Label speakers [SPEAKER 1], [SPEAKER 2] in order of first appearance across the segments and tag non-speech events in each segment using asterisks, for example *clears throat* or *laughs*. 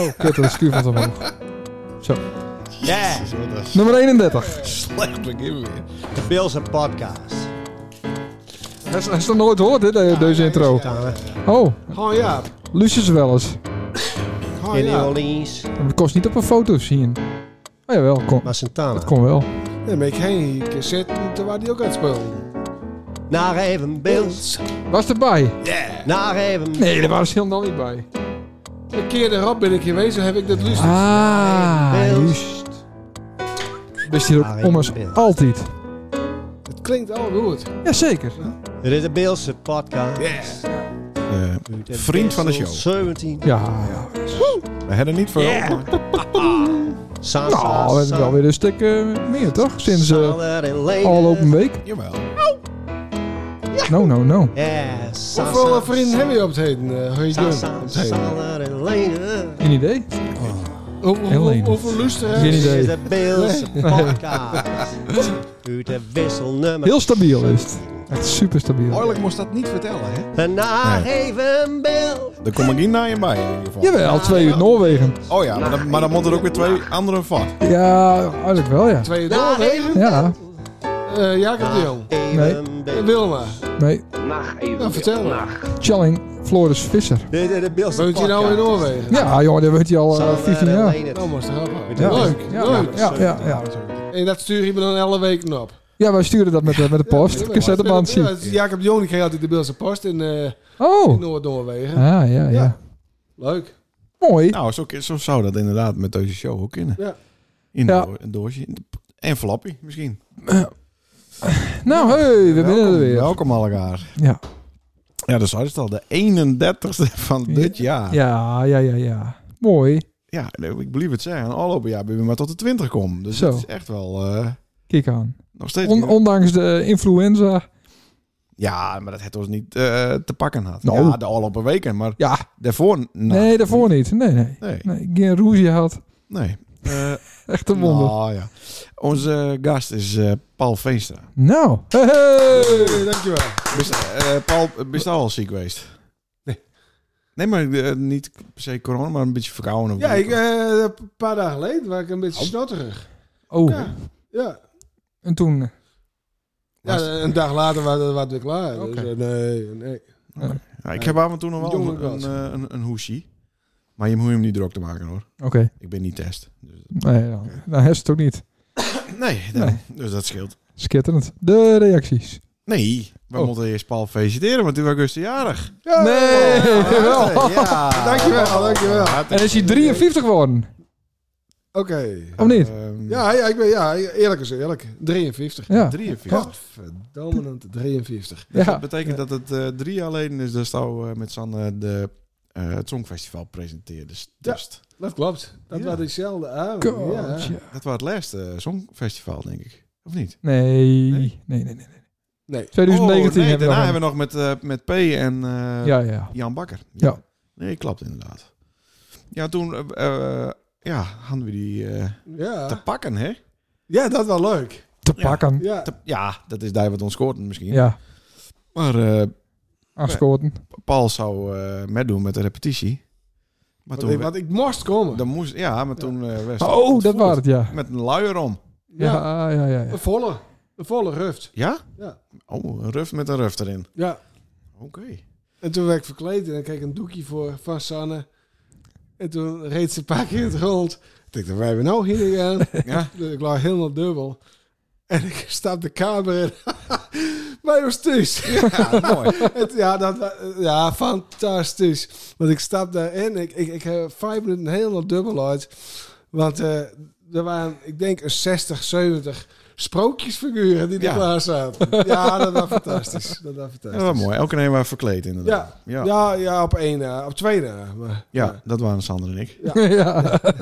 [SPEAKER 1] Oh, kut, dat schuur van omhoog. Zo.
[SPEAKER 2] Ja,
[SPEAKER 3] Jezus, wat een
[SPEAKER 1] Nummer 31.
[SPEAKER 3] slecht begin weer.
[SPEAKER 2] de Bills en podcast.
[SPEAKER 1] Hij is- hij is nog nooit gehoord, hè, de- deze intro.
[SPEAKER 2] Ja,
[SPEAKER 1] Oh,
[SPEAKER 2] Gewoon ja.
[SPEAKER 1] Lucius wel eens.
[SPEAKER 2] Gewoon
[SPEAKER 1] Oh,
[SPEAKER 3] In New
[SPEAKER 2] ja.
[SPEAKER 3] Orleans.
[SPEAKER 1] Dat kost niet op een foto zien. Oh jawel, kon,
[SPEAKER 3] Maar Santana.
[SPEAKER 1] dat kon wel.
[SPEAKER 4] Dan ben ik heen gezet toen waar die ook aan het spelen.
[SPEAKER 3] Naar even Bills.
[SPEAKER 1] Was erbij?
[SPEAKER 3] Naar even.
[SPEAKER 1] Nee, daar waren ze helemaal niet bij.
[SPEAKER 4] Een keer erop ben ik geweest, dan heb ik dat lust.
[SPEAKER 1] Ah,
[SPEAKER 3] Bills.
[SPEAKER 1] juist. Wist hij
[SPEAKER 3] Ah,
[SPEAKER 1] dat ommers
[SPEAKER 3] Bills.
[SPEAKER 1] altijd?
[SPEAKER 4] Het klinkt al goed.
[SPEAKER 1] Jazeker.
[SPEAKER 3] Dit is de Beelse podcast.
[SPEAKER 5] Eh, Vriend van de show.
[SPEAKER 3] 17.
[SPEAKER 1] Ja, ja.
[SPEAKER 5] we hebben er niet veel.
[SPEAKER 3] Sansa,
[SPEAKER 1] Nou, we hebben wel weer een stuk eh, meer, toch? Sinds eh al open week.
[SPEAKER 5] Jawel.
[SPEAKER 1] No, no, no.
[SPEAKER 3] Ja, Sansa.
[SPEAKER 4] Hoeveel vrienden hebben je op het heden? eh, hoe je doen?
[SPEAKER 3] Sansa,
[SPEAKER 4] op het heden?
[SPEAKER 3] Sander en Lene.
[SPEAKER 1] Geen idee.
[SPEAKER 4] Hoe- hoe-
[SPEAKER 1] Heel
[SPEAKER 4] hoe-
[SPEAKER 1] lenig.
[SPEAKER 4] Hoeveel lusten
[SPEAKER 1] Geen
[SPEAKER 4] heb
[SPEAKER 3] Dit
[SPEAKER 4] je?
[SPEAKER 1] idee.
[SPEAKER 3] is de Beelse podcast.
[SPEAKER 1] *laughs*
[SPEAKER 3] Uit de wisselnummer.
[SPEAKER 1] Heel stabiel is het. Echt super stabiel.
[SPEAKER 5] Oorlijk moest dat niet vertellen, hè?
[SPEAKER 3] En naar even Bill.
[SPEAKER 5] Daar kom ik niet naar je bij, in ieder geval.
[SPEAKER 1] Jawel, twee uur Noorwegen.
[SPEAKER 5] Oh ja, maar dan, maar dan moet er ook weer twee anderen vat.
[SPEAKER 1] Ja, eigenlijk wel, ja.
[SPEAKER 4] Twee
[SPEAKER 3] Naar
[SPEAKER 4] door,
[SPEAKER 3] even
[SPEAKER 1] Ja,
[SPEAKER 4] Eh Jacob de Jong.
[SPEAKER 3] Even
[SPEAKER 4] Eh,
[SPEAKER 3] Bill.
[SPEAKER 4] Wilma.
[SPEAKER 1] nee.
[SPEAKER 4] Nou, vertel maar.
[SPEAKER 1] Challing Floris Visser.
[SPEAKER 3] Dit is de Beelse
[SPEAKER 4] Woont hij nou in Noorwegen?
[SPEAKER 1] Ja, jongen, dat weet hij al eh, 15 jaar.
[SPEAKER 4] Nou, moest het helpen.
[SPEAKER 3] Ja.
[SPEAKER 4] Leuk,
[SPEAKER 1] Ja,
[SPEAKER 4] leuk.
[SPEAKER 1] ja, ja, ja.
[SPEAKER 4] En dat stuur je me dan alle weken op.
[SPEAKER 1] Ja, wij sturen dat met, eh, met de post. Cassetteband
[SPEAKER 4] Ja,
[SPEAKER 1] zien.
[SPEAKER 4] het is Jacob de Jong die kreeg altijd de Beelse post in, eh, in
[SPEAKER 1] Oh.
[SPEAKER 4] Noord-Noorwegen.
[SPEAKER 1] Ah, ja, ja.
[SPEAKER 4] Ja. Leuk.
[SPEAKER 1] Mooi.
[SPEAKER 5] Nou, zo, zo zou dat inderdaad met deze show ook kunnen.
[SPEAKER 4] Ja.
[SPEAKER 5] In
[SPEAKER 1] Ja.
[SPEAKER 5] do- een doosje. in de- En flappie misschien.
[SPEAKER 1] Nou, hey, we binnen er
[SPEAKER 5] Welkom,
[SPEAKER 1] weer.
[SPEAKER 5] Welkom allegaar.
[SPEAKER 1] Ja.
[SPEAKER 5] Ja, dus dat is het al. De 31ste van dit jaar. Ja,
[SPEAKER 1] Ja, ja, ja, ja. Mooi.
[SPEAKER 5] ik blijf het zeggen. Afgelopen jaar ben je maar tot de 20 kom. Dus
[SPEAKER 1] Zo.
[SPEAKER 5] dat is echt wel eh,
[SPEAKER 1] Kijk aan.
[SPEAKER 5] nog steeds...
[SPEAKER 1] On- ondanks de influenza.
[SPEAKER 5] ja, maar dat het ons niet eh, te pakken had.
[SPEAKER 1] Nou.
[SPEAKER 5] Ja, de afgelopen weken. Maar
[SPEAKER 1] Ja,
[SPEAKER 5] daarvoor... nou,
[SPEAKER 1] nee, daarvoor niet. Nee, nee.
[SPEAKER 5] Nee.
[SPEAKER 1] nee ik geen roesje had.
[SPEAKER 5] nee.
[SPEAKER 4] Eh,
[SPEAKER 1] Echt een wonder.
[SPEAKER 5] Nou, ja. Onze gast is eh, Paul Veenstra.
[SPEAKER 1] Nou. Hey, hey.
[SPEAKER 4] Hey, dankjewel.
[SPEAKER 5] Bist, eh, Paul, ben je al ziek geweest?
[SPEAKER 4] Nee.
[SPEAKER 5] Nee, maar eh, niet per se corona, maar een beetje verkouden. of-
[SPEAKER 4] Ja, ik, eh, een paar dagen geleden was ik een beetje snotterig.
[SPEAKER 1] Oh,
[SPEAKER 4] Ja. Ja.
[SPEAKER 1] en toen.
[SPEAKER 4] Ja, een dag later waren was het weer klaar.
[SPEAKER 1] Oké.
[SPEAKER 4] Dus, eh, nee, nee.
[SPEAKER 5] Ja, ik heb af en toe nog wel
[SPEAKER 4] Jonge
[SPEAKER 5] een, een,
[SPEAKER 4] gast.
[SPEAKER 5] eh, een, een hoesje. Maar je moet hem niet druk te maken hoor.
[SPEAKER 1] Oké.
[SPEAKER 5] Ik ben niet test. Dus-
[SPEAKER 1] Nee, dan, dan heeft het ook niet.
[SPEAKER 5] nee, dan- dus dat scheelt.
[SPEAKER 1] Schitterend. De reacties.
[SPEAKER 5] Nee, we
[SPEAKER 1] Oh.
[SPEAKER 5] moeten eerst Paul feliciteren, want hij was gisteren jarig.
[SPEAKER 4] Ja,
[SPEAKER 1] Nee,
[SPEAKER 3] *laughs*
[SPEAKER 1] wel.
[SPEAKER 5] Ja.
[SPEAKER 4] Dankjewel, dankjewel.
[SPEAKER 1] En is hij 53 geworden?
[SPEAKER 4] Oké.
[SPEAKER 1] Of niet?
[SPEAKER 5] Ehm,
[SPEAKER 4] Ja, ja, ik ben, ja, eerlijk is eerlijk. 53.
[SPEAKER 1] Ja.
[SPEAKER 5] 43.
[SPEAKER 4] Verdominant 53.
[SPEAKER 5] Dus
[SPEAKER 1] Ja.
[SPEAKER 5] Dat betekent dat het eh, drie jaar geleden is dat Stouw met Sanne de, eh, het Songfestival presenteerde. Dus
[SPEAKER 4] Ja.
[SPEAKER 5] dus
[SPEAKER 4] Dat klopt. Dat
[SPEAKER 5] Ja.
[SPEAKER 4] was diezelfde avond. Ja.
[SPEAKER 1] God, ja.
[SPEAKER 5] dat was het laatste eh, Songfestival, denk ik. Of niet?
[SPEAKER 1] Nee. Nee, nee, nee. nee.
[SPEAKER 4] Nee.
[SPEAKER 1] 2019
[SPEAKER 5] Oh, nee,
[SPEAKER 1] hebben we nog
[SPEAKER 5] daarna hebben we nog met, eh, met P en eh,
[SPEAKER 1] een- Ja, ja.
[SPEAKER 5] Jan Bakker.
[SPEAKER 1] Ja.
[SPEAKER 5] Nee, klopt inderdaad. Ja, toen eh, eh, ja, hadden we die eh, te
[SPEAKER 4] Ja.
[SPEAKER 5] pakken, hè?
[SPEAKER 4] ja, dat was leuk.
[SPEAKER 1] Te
[SPEAKER 5] Ja.
[SPEAKER 1] pakken. Ja.
[SPEAKER 4] Ja.
[SPEAKER 5] Te- ja, dat is daar wat ons scoort misschien.
[SPEAKER 1] ja.
[SPEAKER 5] Maar eh,
[SPEAKER 1] Aanschoten.
[SPEAKER 5] Paul zou eh meedoen met de repetitie. Maar
[SPEAKER 4] Want
[SPEAKER 5] toen...
[SPEAKER 4] ik,
[SPEAKER 5] we-
[SPEAKER 4] want ik moest komen.
[SPEAKER 5] Dan moest, ja, maar toen... eh, we stonden
[SPEAKER 1] Oh, dat
[SPEAKER 5] ontvoerd.
[SPEAKER 1] was het, ja.
[SPEAKER 5] Met een luier om.
[SPEAKER 4] Ja.
[SPEAKER 1] Ja, ah, ja, ja. *laughs* ja.
[SPEAKER 4] Een volle. Een volle ruft.
[SPEAKER 5] Ja?
[SPEAKER 4] Ja.
[SPEAKER 5] Oh, een ruf met een ruf erin.
[SPEAKER 4] Ja.
[SPEAKER 5] Oké.
[SPEAKER 4] En toen werd ik verkleed en dan kreeg ik een doekje voor van Sanne. En toen reed ze een paar keer het rond. Ik dacht, waar hebben we nou heen gaan?
[SPEAKER 5] *laughs* Ja.
[SPEAKER 4] Dus ik lag helemaal dubbel. En ik stap de kamer in. *laughs* Bij ons
[SPEAKER 5] *laughs*
[SPEAKER 4] thuis. *laughs*
[SPEAKER 5] Ja, mooi.
[SPEAKER 4] Het- ja, dat, wa- ja, fantastisch. Want ik stap daarin. Ik, ik, ik heb vijf minuten helemaal dubbel uit. Want eh, er waren, ik denk, een 60, 70 sprookjesfiguren die er
[SPEAKER 5] Ja.
[SPEAKER 4] klaar zaten. Ja, dat
[SPEAKER 5] *laughs*
[SPEAKER 4] was fantastisch. Dat was fantastisch.
[SPEAKER 5] Dat was mooi. Elke een was verkleed inderdaad.
[SPEAKER 4] Ja,
[SPEAKER 5] Ja.
[SPEAKER 4] ja.
[SPEAKER 5] Ja.
[SPEAKER 4] ja, op één na, op twee na. Maar, ja.
[SPEAKER 5] dat waren Sander en ik.
[SPEAKER 1] ja. Oh,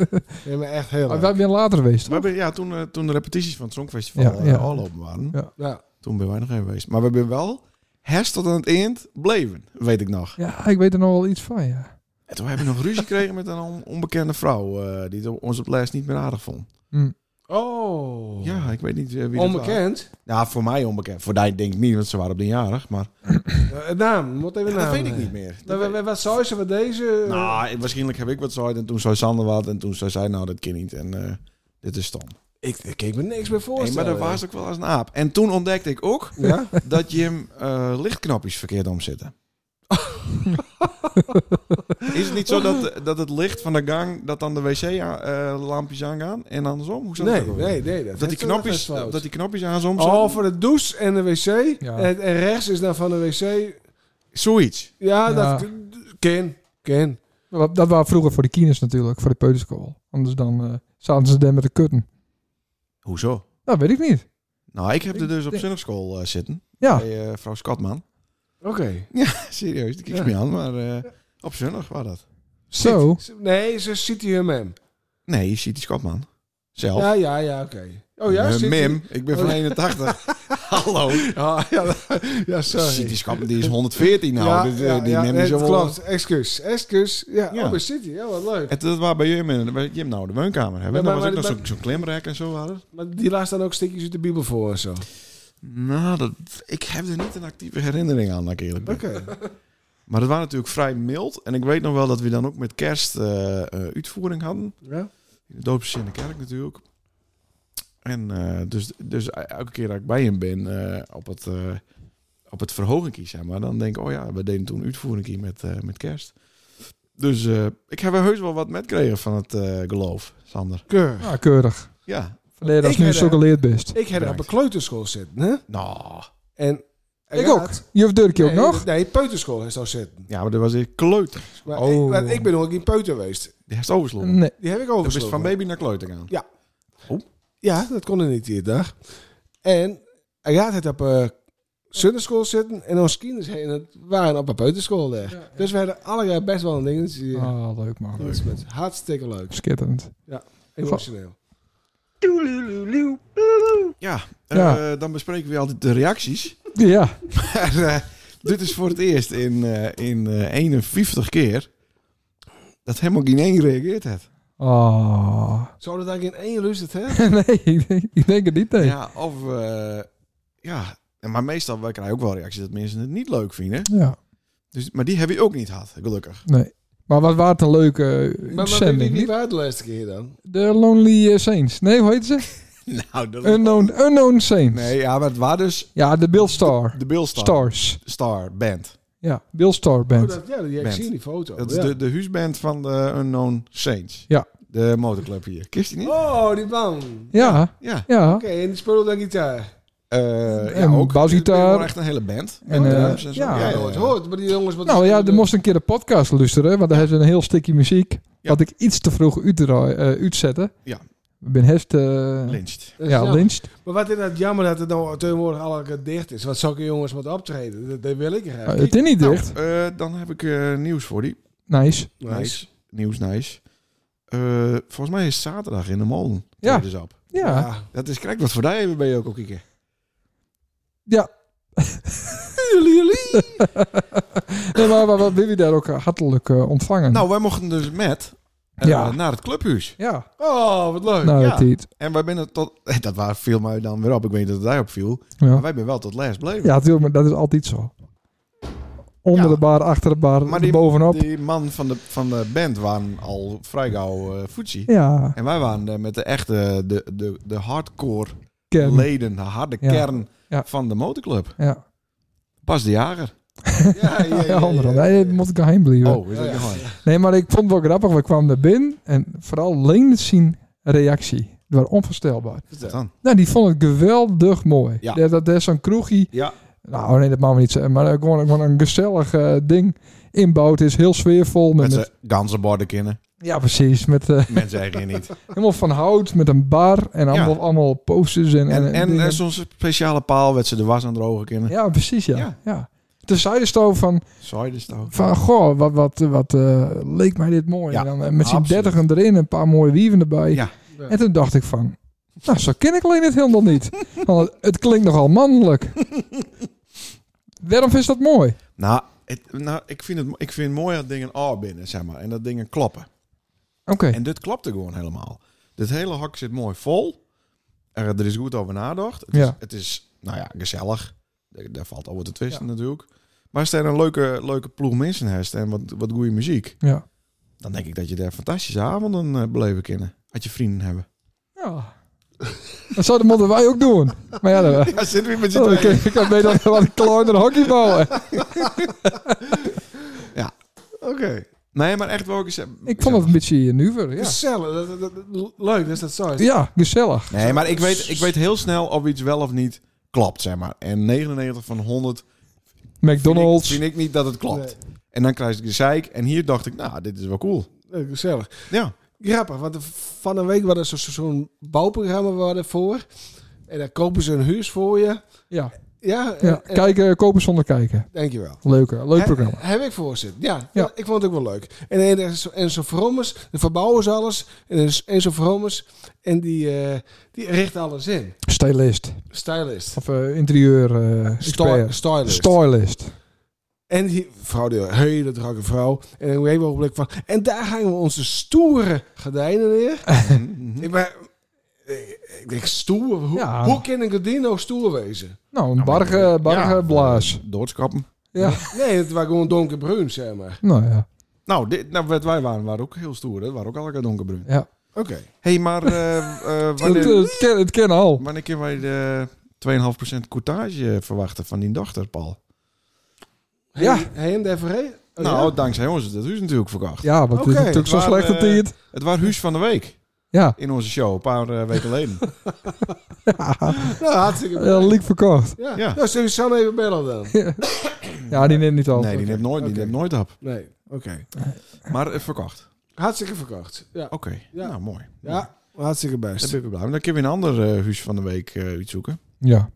[SPEAKER 4] Nee, maar echt heel
[SPEAKER 1] Maar
[SPEAKER 4] leuk.
[SPEAKER 1] wij zijn later geweest.
[SPEAKER 5] We hebben, ja, toen, eh, toen de repetities van het Songfestival
[SPEAKER 1] Ja,
[SPEAKER 5] eh,
[SPEAKER 1] ja.
[SPEAKER 5] al open waren,
[SPEAKER 1] Ja.
[SPEAKER 4] Ja.
[SPEAKER 5] toen ben wij nog even geweest. Maar we hebben wel herst tot aan het eind bleven, weet ik nog.
[SPEAKER 1] Ja, ik weet er nog wel iets van, ja.
[SPEAKER 4] *laughs*
[SPEAKER 5] En toen hebben we nog ruzie gekregen met een on- onbekende vrouw, eh, die het- ons op les niet meer aardig vond.
[SPEAKER 1] Hm.
[SPEAKER 4] Oh.
[SPEAKER 5] Ja, ik weet niet eh, wie dat
[SPEAKER 4] Onbekend?
[SPEAKER 5] was. Ja, voor mij onbekend. Voor die denk ik niet, want ze waren op de jarig. Maar
[SPEAKER 4] Eh, naam, moet even
[SPEAKER 5] Ja,
[SPEAKER 4] naam.
[SPEAKER 5] dat weet ik niet meer.
[SPEAKER 4] Nou, wa- wa- wat zou ze wat deze? eh,
[SPEAKER 5] Nou, eh, waarschijnlijk heb ik wat zoid en toen zei Sander wat en toen zei zij nou dat kan niet en eh, dit is stom.
[SPEAKER 4] ik, ik keek me niks meer
[SPEAKER 5] Hey,
[SPEAKER 4] voorstellen.
[SPEAKER 5] maar dat was ook wel als een aap. En toen ontdekte *laughs* ik ook
[SPEAKER 4] *laughs* Ja?
[SPEAKER 5] dat je hem eh, lichtknopjes verkeerd
[SPEAKER 4] *laughs*
[SPEAKER 5] omzetten. is het niet zo dat, dat het licht van de gang, dat dan de wc-lampjes aangaan en andersom? Hoe zat
[SPEAKER 4] Nee,
[SPEAKER 5] dat ook
[SPEAKER 4] nee, eh,
[SPEAKER 5] weer?
[SPEAKER 4] nee.
[SPEAKER 5] Dat die, knopjes,
[SPEAKER 4] Dat
[SPEAKER 5] dat die knopjes aan soms.
[SPEAKER 4] Oh, voor de douche en de wc.
[SPEAKER 1] Ja.
[SPEAKER 4] En, en rechts is dan van de wc.
[SPEAKER 5] Zoiets.
[SPEAKER 4] Ja,
[SPEAKER 1] Ja.
[SPEAKER 4] dat ken. Ken.
[SPEAKER 1] Dat dat waren vroeger voor de kines natuurlijk, voor de peuterskool. Anders dan eh, zaten ze daar met de kutten.
[SPEAKER 5] Hoezo?
[SPEAKER 1] Dat weet ik niet.
[SPEAKER 5] Nou, ik heb er dus op
[SPEAKER 1] denk-
[SPEAKER 5] zondagschool eh, zitten.
[SPEAKER 1] Ja,
[SPEAKER 5] Bij eh, vrouw Scotman.
[SPEAKER 4] Oké.
[SPEAKER 5] *laughs* Serieus, die kijkt
[SPEAKER 4] Ja.
[SPEAKER 5] me aan, maar eh, op zondag was dat.
[SPEAKER 1] zo.
[SPEAKER 4] Zit- Nee, ze ziet hier mem.
[SPEAKER 5] Nee, je ziet die Scotman. Zelf.
[SPEAKER 4] Ja, ja, ja, oké. Oh ja,
[SPEAKER 5] Eh,
[SPEAKER 4] City-
[SPEAKER 5] Mim, ik ben van
[SPEAKER 4] Oh.
[SPEAKER 5] 81. Hallo.
[SPEAKER 4] *laughs* Ah, ja, *laughs* ja, sorry.
[SPEAKER 5] City Scotman, die is 114 nou.
[SPEAKER 4] ja,
[SPEAKER 5] Dus, eh,
[SPEAKER 4] ja,
[SPEAKER 5] die
[SPEAKER 4] ja,
[SPEAKER 5] Mim
[SPEAKER 4] nee,
[SPEAKER 5] is al
[SPEAKER 4] het
[SPEAKER 5] wel-
[SPEAKER 4] klopt. Excuus, excuus. Ja,
[SPEAKER 5] Ja.
[SPEAKER 4] oh, bij City. Ja, wat leuk.
[SPEAKER 5] En dat was bij Jim, in- bij Jim nou de woonkamer. Hè?
[SPEAKER 4] Ja,
[SPEAKER 5] dan
[SPEAKER 4] maar-
[SPEAKER 5] was
[SPEAKER 4] maar-
[SPEAKER 5] ook nog
[SPEAKER 4] maar-
[SPEAKER 5] zo'n zo'n klimrek en zo. Hadden.
[SPEAKER 4] Maar die laat dan ook stukjes uit de Bijbel voor en zo.
[SPEAKER 5] Nou, dat, ik heb er niet een actieve herinnering aan, laat ik eerlijk ben.
[SPEAKER 4] Oké.
[SPEAKER 5] Maar dat was natuurlijk vrij mild. En ik weet nog wel dat we dan ook met kerst eh, eh, uitvoering hadden.
[SPEAKER 4] *laughs* Ja.
[SPEAKER 5] In de doopsjes in de kerk natuurlijk. En eh, dus, dus elke keer dat ik bij hem ben eh, op het, eh op het verhogingkie, zeg maar, dan denk ik, oh ja, we deden toen uitvoering met, eh, met kerst. Dus eh, ik heb er heus wel wat met gekregen van het eh, geloof, Sander.
[SPEAKER 4] Keur.
[SPEAKER 1] Ja, Ah, keurig.
[SPEAKER 5] Ja.
[SPEAKER 1] Vandaar dat
[SPEAKER 4] Ik
[SPEAKER 1] ze nu
[SPEAKER 4] heb,
[SPEAKER 1] zo
[SPEAKER 4] eh,
[SPEAKER 1] geleerd best.
[SPEAKER 4] Ik heb op een kleuterschool zitten, hè?
[SPEAKER 5] Nou.
[SPEAKER 4] En
[SPEAKER 1] Ik ook. Juf Durkje
[SPEAKER 4] Nee,
[SPEAKER 1] ook nog?
[SPEAKER 4] Nee, peuterschool is al zitten.
[SPEAKER 5] Ja, maar dat was een kleuter.
[SPEAKER 4] Maar,
[SPEAKER 1] Oh.
[SPEAKER 4] ik, maar ik ben nog in peuter geweest.
[SPEAKER 5] Die heeft oversloegen.
[SPEAKER 1] Nee.
[SPEAKER 4] Die heb ik
[SPEAKER 5] Dat is
[SPEAKER 4] overgeslagen.
[SPEAKER 5] van baby naar kleuter gaan.
[SPEAKER 4] Ja, dat kon er niet die dag. En hij gaat het op eh zonderschool zitten en onze kinderen heen, het waren op een peuterschool daar. Dus we hadden allebei best wel een dingetje. Ja.
[SPEAKER 1] Ah, leuk man.
[SPEAKER 4] Dat is met hartstikke leuk.
[SPEAKER 1] Schitterend.
[SPEAKER 4] Emotioneel.
[SPEAKER 5] Ja,
[SPEAKER 1] Ja.
[SPEAKER 5] eh, dan bespreken we altijd de reacties.
[SPEAKER 1] Ja,
[SPEAKER 5] Maar, eh, dit is voor het eerst in, eh, in eh, 51 keer dat helemaal geen één reageert heeft.
[SPEAKER 1] Oh.
[SPEAKER 4] Zou dat eigenlijk in één lust hè?
[SPEAKER 1] *laughs* nee, ik denk, ik denk het niet. Nee. Ja.
[SPEAKER 5] Ja, of eh, ja, maar meestal wij krijgen ook wel reacties dat mensen het niet leuk vinden. Dus, maar die heb je ook niet gehad, gelukkig.
[SPEAKER 1] nee. Maar wat was het een leuke eh,
[SPEAKER 4] Maar, maar wie,
[SPEAKER 1] uitzending.
[SPEAKER 4] wie
[SPEAKER 1] niet?
[SPEAKER 4] waren het de laatste keer dan?
[SPEAKER 1] De Lonely eh, Saints. Nee, hoe heet ze?
[SPEAKER 5] *laughs* Nou, dat
[SPEAKER 1] Unknown, unknown Saints.
[SPEAKER 5] Nee, ja, maar het was dus
[SPEAKER 1] Ja, de Bill Star.
[SPEAKER 5] de Bill Star,
[SPEAKER 1] Stars.
[SPEAKER 5] Star Band.
[SPEAKER 1] Ja, Bill Star
[SPEAKER 4] Oh,
[SPEAKER 1] Band.
[SPEAKER 4] dat, ja, die heb ik
[SPEAKER 5] Band.
[SPEAKER 4] gezien, die foto.
[SPEAKER 5] Dat is
[SPEAKER 4] ja.
[SPEAKER 5] de, de huisband van de Unknown Saints.
[SPEAKER 1] Oh, Ja.
[SPEAKER 5] De motorclub hier. Kist die niet?
[SPEAKER 4] Oh, die man.
[SPEAKER 1] Ja,
[SPEAKER 5] Ja.
[SPEAKER 1] ja.
[SPEAKER 4] Oké, en die speelde dan
[SPEAKER 1] Ah,
[SPEAKER 4] gitaar.
[SPEAKER 5] Eh ja,
[SPEAKER 1] En
[SPEAKER 5] ook.
[SPEAKER 1] basgitaar.
[SPEAKER 5] Het is wel echt een hele band.
[SPEAKER 1] En,
[SPEAKER 5] Met
[SPEAKER 1] eh,
[SPEAKER 5] drums en zo.
[SPEAKER 1] ja.
[SPEAKER 4] Ja,
[SPEAKER 5] ja,
[SPEAKER 4] hoort, hoort. Maar die jongens... Wat
[SPEAKER 1] Nou ja, er moest een keer de podcast luisteren, want daar hebben ze een heel stukje muziek. Wat ik iets te vroeg uitdraai- eh, uitzette.
[SPEAKER 5] Ja.
[SPEAKER 1] Ik ben hest... eh,
[SPEAKER 5] Lynched.
[SPEAKER 4] Dat is
[SPEAKER 1] ja,
[SPEAKER 4] jammer.
[SPEAKER 1] lynched.
[SPEAKER 4] Maar wat inderdaad jammer dat het nou tegenwoordig allemaal dicht is. Want zulke jongens moeten optreden. Dat, dat wil ik graag.
[SPEAKER 1] Eh, het is niet dicht.
[SPEAKER 5] Nou, eh, dan heb ik eh, nieuws voor die.
[SPEAKER 1] Nice.
[SPEAKER 5] Nice. Nieuws, nice. Eh, volgens mij is zaterdag in de molen.
[SPEAKER 1] Ja.
[SPEAKER 5] Tweede zap.
[SPEAKER 1] Ja.
[SPEAKER 5] Dat is correct. Wat voor daar hebben ben je ook ook kieken.
[SPEAKER 1] Ja. nee, maar wat wil je daar ook eh, hartelijk eh, ontvangen?
[SPEAKER 5] Nou, wij mochten dus met eh,
[SPEAKER 1] Ja.
[SPEAKER 5] naar het clubhuis.
[SPEAKER 1] Ja.
[SPEAKER 4] Oh, wat leuk.
[SPEAKER 1] Nou,
[SPEAKER 5] ja.
[SPEAKER 1] het niet.
[SPEAKER 5] En wij binnen tot... *laughs* Dat waar, viel mij dan weer op. Ik weet niet dat het daarop viel. Maar
[SPEAKER 1] Ja.
[SPEAKER 5] wij zijn wel tot last bleven.
[SPEAKER 1] ja, natuurlijk, maar dat is altijd zo. Onder
[SPEAKER 5] Ja.
[SPEAKER 1] de bar, achter de bar,
[SPEAKER 5] Maar die-
[SPEAKER 1] bovenop.
[SPEAKER 5] Die man van de, van de band waren al vrij gauw eh footsie.
[SPEAKER 1] ja,
[SPEAKER 5] En wij waren eh, met de echte, de, de, de hardcore
[SPEAKER 1] kern.
[SPEAKER 5] leden, de harde
[SPEAKER 1] Ja.
[SPEAKER 5] kern
[SPEAKER 1] Ja.
[SPEAKER 5] van de motorclub.
[SPEAKER 1] ja.
[SPEAKER 5] Pas de
[SPEAKER 1] *laughs*
[SPEAKER 5] jager.
[SPEAKER 4] Ja, ja,
[SPEAKER 1] Ja, andere.
[SPEAKER 4] ja.
[SPEAKER 1] Nee, dat moet ik geheim blijven.
[SPEAKER 5] Oh, is dat
[SPEAKER 4] Ja, ja.
[SPEAKER 5] gewoon?
[SPEAKER 1] Nee, maar ik vond het wel grappig. We kwamen er binnen en vooral Leendert zien reactie. Dat was onvoorstelbaar.
[SPEAKER 5] Wat dan?
[SPEAKER 1] Nou, die vond het geweldig mooi.
[SPEAKER 5] Ja.
[SPEAKER 1] Dat, dat, dat is zo'n kroegje.
[SPEAKER 5] Ja.
[SPEAKER 1] Nou, nee, dat mag we niet zeggen. Maar eh, gewoon, gewoon een gezellig eh, ding inbouwd is. Heel sfeervol. Met,
[SPEAKER 5] Met
[SPEAKER 1] met-
[SPEAKER 5] zijn ganzenborden kennen.
[SPEAKER 1] ja, precies. Met, eh,
[SPEAKER 5] *laughs* Mensen eigenlijk niet.
[SPEAKER 1] helemaal van hout, met een bar en allemaal, allemaal posters. En,
[SPEAKER 5] En, en
[SPEAKER 1] dingen.
[SPEAKER 5] eh, zo'n speciale paal werd ze de was aan het drogen kennen.
[SPEAKER 1] Ja, precies, ja. ja.
[SPEAKER 5] Ja.
[SPEAKER 1] Toen zei de stoof van,
[SPEAKER 5] Sorry, dus toch.
[SPEAKER 1] van goh, wat, wat, wat eh, leek mij dit mooi.
[SPEAKER 5] Ja,
[SPEAKER 1] en dan, eh, met z'n
[SPEAKER 5] absoluut.
[SPEAKER 1] dertigen erin, een paar mooie wieven erbij.
[SPEAKER 5] Ja.
[SPEAKER 4] Ja.
[SPEAKER 1] En toen dacht ik van, nou, zo ken ik alleen het helemaal
[SPEAKER 5] *laughs*
[SPEAKER 1] niet. Want het, het klinkt nogal mannelijk. Waarom is dat mooi?
[SPEAKER 5] Nou, het, nou ik, vind het, ik vind mooi dat dingen R binnen, zeg maar. En dat dingen kloppen.
[SPEAKER 1] Oké,
[SPEAKER 5] En dit klopte gewoon helemaal. Dit hele hak zit mooi vol. er, er is goed over nagedacht. Het, is,
[SPEAKER 1] Ja.
[SPEAKER 5] het is, nou ja, gezellig. Daar, daar valt over te twisten natuurlijk. Maar als je een leuke, leuke ploeg mensen hebt en wat, wat goede muziek,
[SPEAKER 1] Ja.
[SPEAKER 5] dan denk ik dat je daar fantastische avonden eh, beleven kunnen. Als je vrienden hebben.
[SPEAKER 1] ja. Dat zouden moeten wij ook doen. Maar ja, dan,
[SPEAKER 5] Ja, *laughs* zit weer met
[SPEAKER 1] oh, ik, ik had mee dan wat kleiner hockeyballen.
[SPEAKER 5] Oké. Nee, maar echt wel gezellig.
[SPEAKER 1] Ik vond het een beetje nuver. Ja,
[SPEAKER 4] Gezellig. Dat, dat, dat- leuk dat is dat zo is.
[SPEAKER 1] ja gezellig.
[SPEAKER 5] Nee, maar ik weet, ik weet heel snel of iets wel of niet klopt, zeg maar. En 99 van 100 vind ik,
[SPEAKER 1] McDonald's.
[SPEAKER 5] vind ik niet dat het klopt. En dan krijg ik de zeik. En hier dacht ik, nou, dit is wel cool.
[SPEAKER 4] Leuk, gezellig.
[SPEAKER 5] Ja.
[SPEAKER 4] Grappig, want de- van een week was er zo- zo- zo'n bouwprogramma waar voor. En dan kopen ze een huis voor je.
[SPEAKER 1] Ja,
[SPEAKER 4] Ja,
[SPEAKER 1] ja.
[SPEAKER 4] en- en-
[SPEAKER 1] Kijken, eh, kopen zonder kijken.
[SPEAKER 4] dankjewel.
[SPEAKER 1] Leuker, leuk
[SPEAKER 4] He-
[SPEAKER 1] programma.
[SPEAKER 4] Heb ik voorzit. Ja,
[SPEAKER 1] Ja.
[SPEAKER 4] ik vond het ook wel leuk. En, en, en zo- en zo'n Vrommers, dan verbouwen ze alles. En, en zo- en zo'n Vrommers, en die, eh, die richt alles in.
[SPEAKER 1] Stylist.
[SPEAKER 4] Stylist.
[SPEAKER 1] Of eh, interieur eh,
[SPEAKER 4] Sty-
[SPEAKER 1] expert.
[SPEAKER 4] Stylist.
[SPEAKER 1] Stylist.
[SPEAKER 4] En die vrouw, die hele drukke vrouw. En dan een ogenblik van. En daar hangen we onze stoere gordijnen neer.
[SPEAKER 1] *laughs* Mhm,
[SPEAKER 4] Ik, maar, ik ik denk, stoer? Hoe,
[SPEAKER 1] Ja.
[SPEAKER 4] hoe kan een gordijn nou stoer wezen?
[SPEAKER 1] Nou, een barge, barge blaas.
[SPEAKER 5] Doodskappen.
[SPEAKER 1] Ja.
[SPEAKER 4] Nee, het was gewoon donkerbruin, zeg maar.
[SPEAKER 1] *laughs* Nou ja.
[SPEAKER 5] Nou, dit, nou, wat wij waren, waren ook heel stoer. Dat waren ook elkaar donkerbruin.
[SPEAKER 1] ja.
[SPEAKER 4] Oké.
[SPEAKER 5] Hé, hey, maar eh,
[SPEAKER 1] *laughs*
[SPEAKER 5] eh,
[SPEAKER 1] Het,
[SPEAKER 5] wanneer,
[SPEAKER 1] het ken, het ken al.
[SPEAKER 5] wanneer kunnen wij de 2,5% courtage verwachten van die dochter, Paul?
[SPEAKER 1] Ja.
[SPEAKER 4] Heen, heen de FRE? Oh,
[SPEAKER 5] nou,
[SPEAKER 4] ja?
[SPEAKER 5] dankzij ons is dat huis natuurlijk verkocht.
[SPEAKER 1] Ja, want het
[SPEAKER 4] Oké,
[SPEAKER 1] is natuurlijk zo
[SPEAKER 5] maar,
[SPEAKER 1] slecht dat
[SPEAKER 5] eh,
[SPEAKER 1] hij het...
[SPEAKER 5] Het was huis van de week
[SPEAKER 1] Ja,
[SPEAKER 5] in onze show, een paar eh, weken *laughs* geleden.
[SPEAKER 4] nou, hartstikke
[SPEAKER 1] ja eh, leak verkocht.
[SPEAKER 4] Ja.
[SPEAKER 5] Ja.
[SPEAKER 4] Nou, zullen we Sanne even bellen dan?
[SPEAKER 1] Ja, die neemt niet al.
[SPEAKER 5] Nee, die neemt nooit, die
[SPEAKER 4] Oké.
[SPEAKER 5] neemt nooit op.
[SPEAKER 4] Nee, oké.
[SPEAKER 5] Maar het verkocht.
[SPEAKER 4] Hartstikke verkocht. Ja.
[SPEAKER 5] Oké,
[SPEAKER 4] Ja.
[SPEAKER 5] nou mooi. Dus-
[SPEAKER 4] ja, hartstikke
[SPEAKER 5] Daar
[SPEAKER 4] best.
[SPEAKER 5] ben ik weer blij mee. Dan kunnen we een ander eh, huis van de week eh, iets zoeken.
[SPEAKER 1] Ja.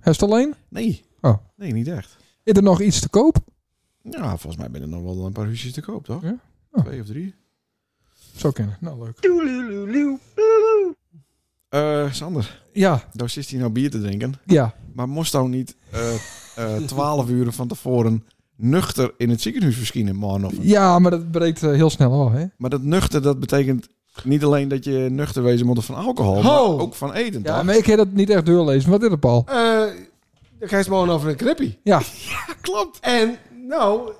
[SPEAKER 1] Hij is het alleen?
[SPEAKER 5] Nee.
[SPEAKER 1] Oh.
[SPEAKER 5] Nee, niet echt.
[SPEAKER 1] Is er nog iets te koop?
[SPEAKER 5] Ja, volgens mij ben er nog wel een paar huisjes te koop, toch?
[SPEAKER 1] Ja? Oh.
[SPEAKER 5] Twee of drie.
[SPEAKER 1] Zo kennen. Nou, leuk.
[SPEAKER 5] Eh, Sander,
[SPEAKER 1] Ja,
[SPEAKER 5] daar zit hij nou bier te drinken.
[SPEAKER 1] ja.
[SPEAKER 5] Maar moest nou niet eh, *laughs* twaalf uur van tevoren nuchter in het ziekenhuis verschijnen, man? Of...
[SPEAKER 1] Ja, maar dat breekt eh, heel snel af, hè?
[SPEAKER 5] Maar dat nuchter, dat betekent niet alleen dat je nuchter wezen moet van alcohol,
[SPEAKER 4] Ho!
[SPEAKER 5] maar ook van eten,
[SPEAKER 1] Ja,
[SPEAKER 5] toch?
[SPEAKER 1] maar ik heb dat niet echt doorlezen. Wat is het, Paul?
[SPEAKER 4] Eh, dan ga je het morgen over een knippie.
[SPEAKER 1] *laughs* Ja,
[SPEAKER 4] Klopt. En, nou,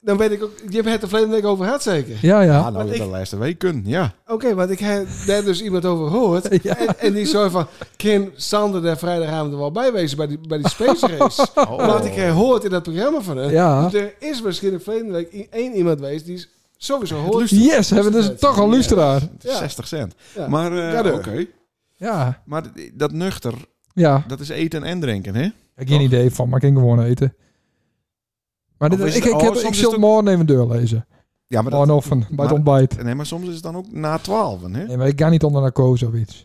[SPEAKER 4] dan weet ik ook... Je hebt het er verleden week over gehad zeker?
[SPEAKER 1] ja,
[SPEAKER 5] Ah,
[SPEAKER 1] ja.
[SPEAKER 5] nou,
[SPEAKER 4] Want
[SPEAKER 5] ik...
[SPEAKER 4] ik-
[SPEAKER 5] de laatste week kunnen, ja.
[SPEAKER 4] Oké, want ik heb daar dus iemand over gehoord.
[SPEAKER 1] *laughs* Ja.
[SPEAKER 4] En, en die zei van... Kim Sander daar vrijdagavond er wel bij wezen bij die, bij die space
[SPEAKER 1] *laughs*
[SPEAKER 4] race?
[SPEAKER 5] Oh,
[SPEAKER 4] Want ik heb gehoord in dat programma van hem.
[SPEAKER 1] Oh. Ja.
[SPEAKER 4] Dus er is misschien een verleden week i- één iemand geweest die is sowieso hoort.
[SPEAKER 1] Yes, hebben we dus toch een luisteraar.
[SPEAKER 4] Ja.
[SPEAKER 5] 60 cent.
[SPEAKER 4] Ja.
[SPEAKER 5] Maar, eh,
[SPEAKER 4] Ja,
[SPEAKER 5] oké.
[SPEAKER 4] door.
[SPEAKER 1] Ja,
[SPEAKER 5] Maar dat nuchter,
[SPEAKER 1] ja.
[SPEAKER 5] dat is eten en drinken, hè?
[SPEAKER 1] Ik heb geen idee van, maar ik ging gewoon eten. Maar dit,
[SPEAKER 5] Of
[SPEAKER 1] ik,
[SPEAKER 5] is
[SPEAKER 1] ik,
[SPEAKER 5] het- oh,
[SPEAKER 1] heb,
[SPEAKER 5] soms
[SPEAKER 1] ik
[SPEAKER 5] is
[SPEAKER 1] zal
[SPEAKER 5] het
[SPEAKER 1] het morgen even doorlezen.
[SPEAKER 5] Ja, maar dat...
[SPEAKER 1] Morgen of bij
[SPEAKER 5] maar-
[SPEAKER 1] het ontbijt.
[SPEAKER 5] Oh, Nee, maar soms is het dan ook na 12, hè?
[SPEAKER 1] Nee, maar ik ga niet onder narcose of iets.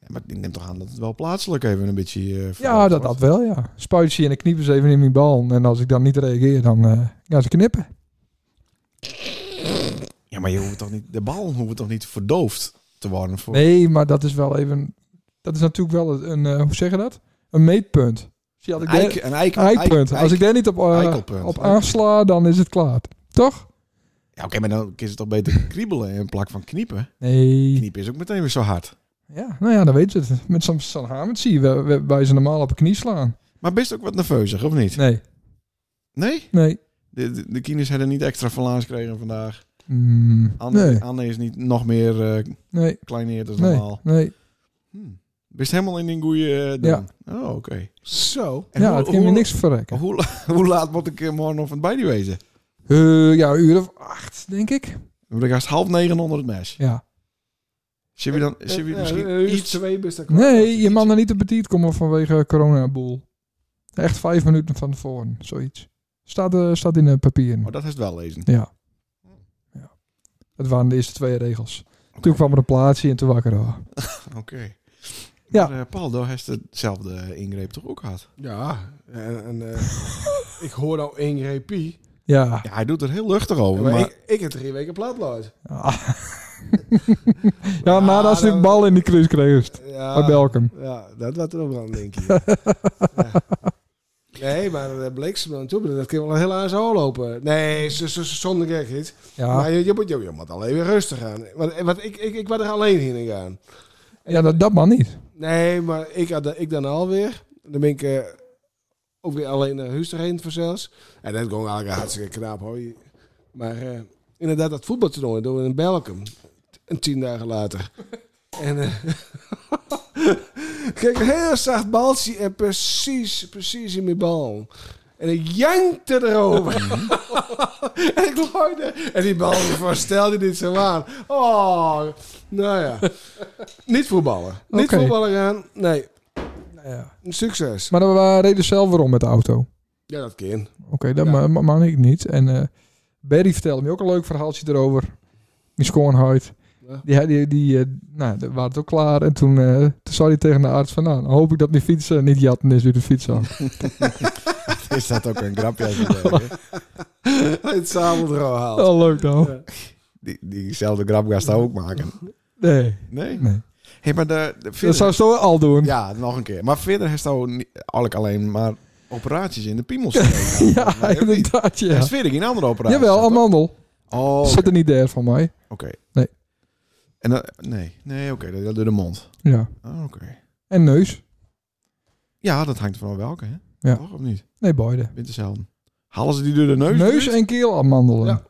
[SPEAKER 5] Ja, maar ik neem toch aan dat het wel plaatselijk even een beetje... eh,
[SPEAKER 1] Ja,
[SPEAKER 5] veranderd
[SPEAKER 1] dat,
[SPEAKER 5] wordt.
[SPEAKER 1] dat wel, ja. Spuit ze en ik kniep eens even in mijn bal. En als ik dan niet reageer, dan eh, gaan ze knippen.
[SPEAKER 5] Ja, maar je hoeft toch niet... De bal hoeft toch niet verdoofd te worden voor...
[SPEAKER 1] Nee, maar dat is wel even... Dat is natuurlijk wel een, eh, hoe zeg je dat? Een meetpunt. Zie, had ik daar-
[SPEAKER 5] Eik, een eik,
[SPEAKER 1] Ah. eikpunt.
[SPEAKER 5] eik-
[SPEAKER 1] Als ik daar niet op, eh,
[SPEAKER 5] eikelpunt.
[SPEAKER 1] op aansla, dan is het klaar. Toch?
[SPEAKER 5] Ja, oké, maar dan is het toch beter kriebelen in plak van kniepen.
[SPEAKER 1] Nee.
[SPEAKER 5] Kniepen is ook meteen weer zo hard.
[SPEAKER 1] Ja, nou ja, dan weet je het. Met zo'n zo'n hamertje, we- we- wij ze normaal op een knie slaan.
[SPEAKER 5] Maar best ook wat nerveuzig, of niet?
[SPEAKER 1] Nee,
[SPEAKER 5] Nee?
[SPEAKER 1] nee.
[SPEAKER 5] De, de, de kines hebben niet extra verlaans gekregen vandaag.
[SPEAKER 1] Mm,
[SPEAKER 5] Anne,
[SPEAKER 1] nee,
[SPEAKER 5] Anne is niet nog meer eh
[SPEAKER 1] nee,
[SPEAKER 5] kleineerd dan
[SPEAKER 1] nee,
[SPEAKER 5] normaal.
[SPEAKER 1] nee.
[SPEAKER 5] Hm.
[SPEAKER 4] Hmm.
[SPEAKER 5] Best helemaal in een goede eh
[SPEAKER 1] Ja.
[SPEAKER 5] doen. Oh, oké.
[SPEAKER 4] Zo.
[SPEAKER 5] En
[SPEAKER 1] ja,
[SPEAKER 5] hoe-
[SPEAKER 1] het kan
[SPEAKER 5] hoe-
[SPEAKER 1] me niks verrekken.
[SPEAKER 5] Hoe, la- *laughs* hoe laat moet ik eh, morgen nog van het bij die wezen?
[SPEAKER 1] Eh, ja, een uur of acht, denk ik.
[SPEAKER 5] Dan ga je half negen onder het mes.
[SPEAKER 1] Ja.
[SPEAKER 5] Zullen we dan zullen we
[SPEAKER 4] Ja,
[SPEAKER 5] misschien
[SPEAKER 4] een uur of
[SPEAKER 5] iets...
[SPEAKER 4] Eh, twee best dat klaar.
[SPEAKER 1] Nee, je man er niet te petit komen vanwege coronaboel. Echt vijf minuten van tevoren, zoiets. Staat, eh, staat in de papieren.
[SPEAKER 5] Oh, dat is het wel lezen.
[SPEAKER 1] Ja. ja. Het waren de eerste twee regels. Toen kwam er een plaatsje en toen wakker. Oh.
[SPEAKER 5] Oké.
[SPEAKER 1] Ja.
[SPEAKER 5] Maar, eh, Paul, daar heeft hetzelfde eh, ingreep toch ook gehad?
[SPEAKER 4] Ja, en, en, eh, *laughs* ik hoor nou één P.
[SPEAKER 1] Ja.
[SPEAKER 5] Ja, hij doet er heel luchtig over,
[SPEAKER 4] maar
[SPEAKER 5] Oh, maar...
[SPEAKER 4] ik, ik heb drie weken platlood.
[SPEAKER 1] Ah. ja, nadat ze die
[SPEAKER 4] dan-
[SPEAKER 1] bal in die kruis kreeg. Bij
[SPEAKER 4] Ja,
[SPEAKER 1] Belkum.
[SPEAKER 4] ja, dat was er nog wel, denk ik. ja. Nee, maar dat bliksem aan toe, dat kan wel heel aan zo lopen. Nee, z- z- z- zonder gek niet.
[SPEAKER 1] Ja.
[SPEAKER 4] Maar je, je, moet, je, je moet alleen weer rustig aan. Want, want ik, ik, ik was er alleen heen gaan.
[SPEAKER 1] Ja, dat, dat man niet.
[SPEAKER 4] Nee, maar ik, had- ik dan alweer. Dan ben ik eh, ook weer alleen naar huis erheen voor zelfs. En dat ging eigenlijk hartstikke knap hoor. Maar eh, inderdaad, dat voetbaltoernooi doen we in Belgium. En tien dagen later. En eh, *laughs* kijk, een heel zacht baltje en precies, precies in mijn bal. En ik jankte erover. *laughs* en ik looide. En die bal van stel die dit zo aan. Oh, nou ja. Niet voetballen. Niet
[SPEAKER 1] Oké.
[SPEAKER 4] voetballen gaan. Nee,
[SPEAKER 1] Nou Ja.
[SPEAKER 4] een succes.
[SPEAKER 1] Maar we eh, reden zelf weer om met de auto.
[SPEAKER 4] Ja, dat kan.
[SPEAKER 1] Oké, dat
[SPEAKER 4] Ja.
[SPEAKER 1] ma- ma- man ik niet. En eh Barry vertelde me ook een leuk verhaaltje erover. Die schoonheid. Die,
[SPEAKER 4] Ja. *laughs*
[SPEAKER 1] die, die eh, nou, die waren het ook klaar. En toen, eh, toen zei hij tegen de arts van... Nou, dan hoop ik dat mijn fiets eh, niet jatten is uit de fiets af.
[SPEAKER 5] *laughs* Is dat ook een grapje? als je
[SPEAKER 1] *laughs*
[SPEAKER 5] dat, hè?
[SPEAKER 4] Het zameldrouw haalt.
[SPEAKER 1] Oh, leuk dan.
[SPEAKER 5] Die, diezelfde grap gaat ze ook maken.
[SPEAKER 1] Nee.
[SPEAKER 5] Nee.
[SPEAKER 1] nee.
[SPEAKER 5] Hey, maar de, de
[SPEAKER 1] Dat
[SPEAKER 5] verder-
[SPEAKER 1] zou ze al doen.
[SPEAKER 5] Ja, nog een keer. Maar verder heeft hij ook niet- eigenlijk alleen maar operaties in de piemel zitten.
[SPEAKER 1] *laughs* Ja,
[SPEAKER 5] Maar ook niet.
[SPEAKER 1] inderdaad, ja.
[SPEAKER 5] Hij is verder geen andere operatie.
[SPEAKER 1] Jawel,
[SPEAKER 5] toch?
[SPEAKER 1] amandel.
[SPEAKER 5] Oh, oké.
[SPEAKER 1] Zit er niet der van mij.
[SPEAKER 5] Oké.
[SPEAKER 1] Nee.
[SPEAKER 5] En dat, nee, nee, oké, dat dat door de mond.
[SPEAKER 1] Ja.
[SPEAKER 5] Oh, oké.
[SPEAKER 1] En neus.
[SPEAKER 5] Ja, dat hangt van welke, hè?
[SPEAKER 1] Ja.
[SPEAKER 5] Toch of niet?
[SPEAKER 1] Nee, beide.
[SPEAKER 5] Winterzelden. Halen ze die door de neus? dus?
[SPEAKER 1] Neus
[SPEAKER 5] eruit?
[SPEAKER 1] en keel amandelen.
[SPEAKER 4] Ja.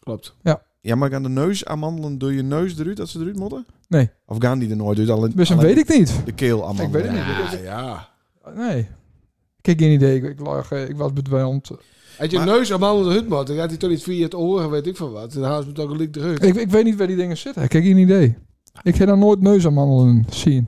[SPEAKER 4] Klopt.
[SPEAKER 5] Ja, maar gaan de neus amandelen door je neus eruit dat ze eruit moeten?
[SPEAKER 1] Nee.
[SPEAKER 5] Of gaan die er nooit uit? Alleen,
[SPEAKER 1] Dus dat
[SPEAKER 5] alleen
[SPEAKER 1] weet ik niet.
[SPEAKER 5] De keel amandelen.
[SPEAKER 1] Ik weet het niet.
[SPEAKER 4] Ja, ja.
[SPEAKER 1] Nee. Ik heb geen idee. Ik, ik lag, eh, ik was bedwelmd.
[SPEAKER 4] Had je
[SPEAKER 5] Maar-
[SPEAKER 4] neus aan de hut moet, dan gaat hij toch niet via het oren, weet ik van wat. Dan haalt ze het ook een lik druk.
[SPEAKER 1] Ik, ik weet niet waar die dingen zitten. Ik heb geen idee. Ik heb dan nooit neusamandelen zien.
[SPEAKER 4] Zullen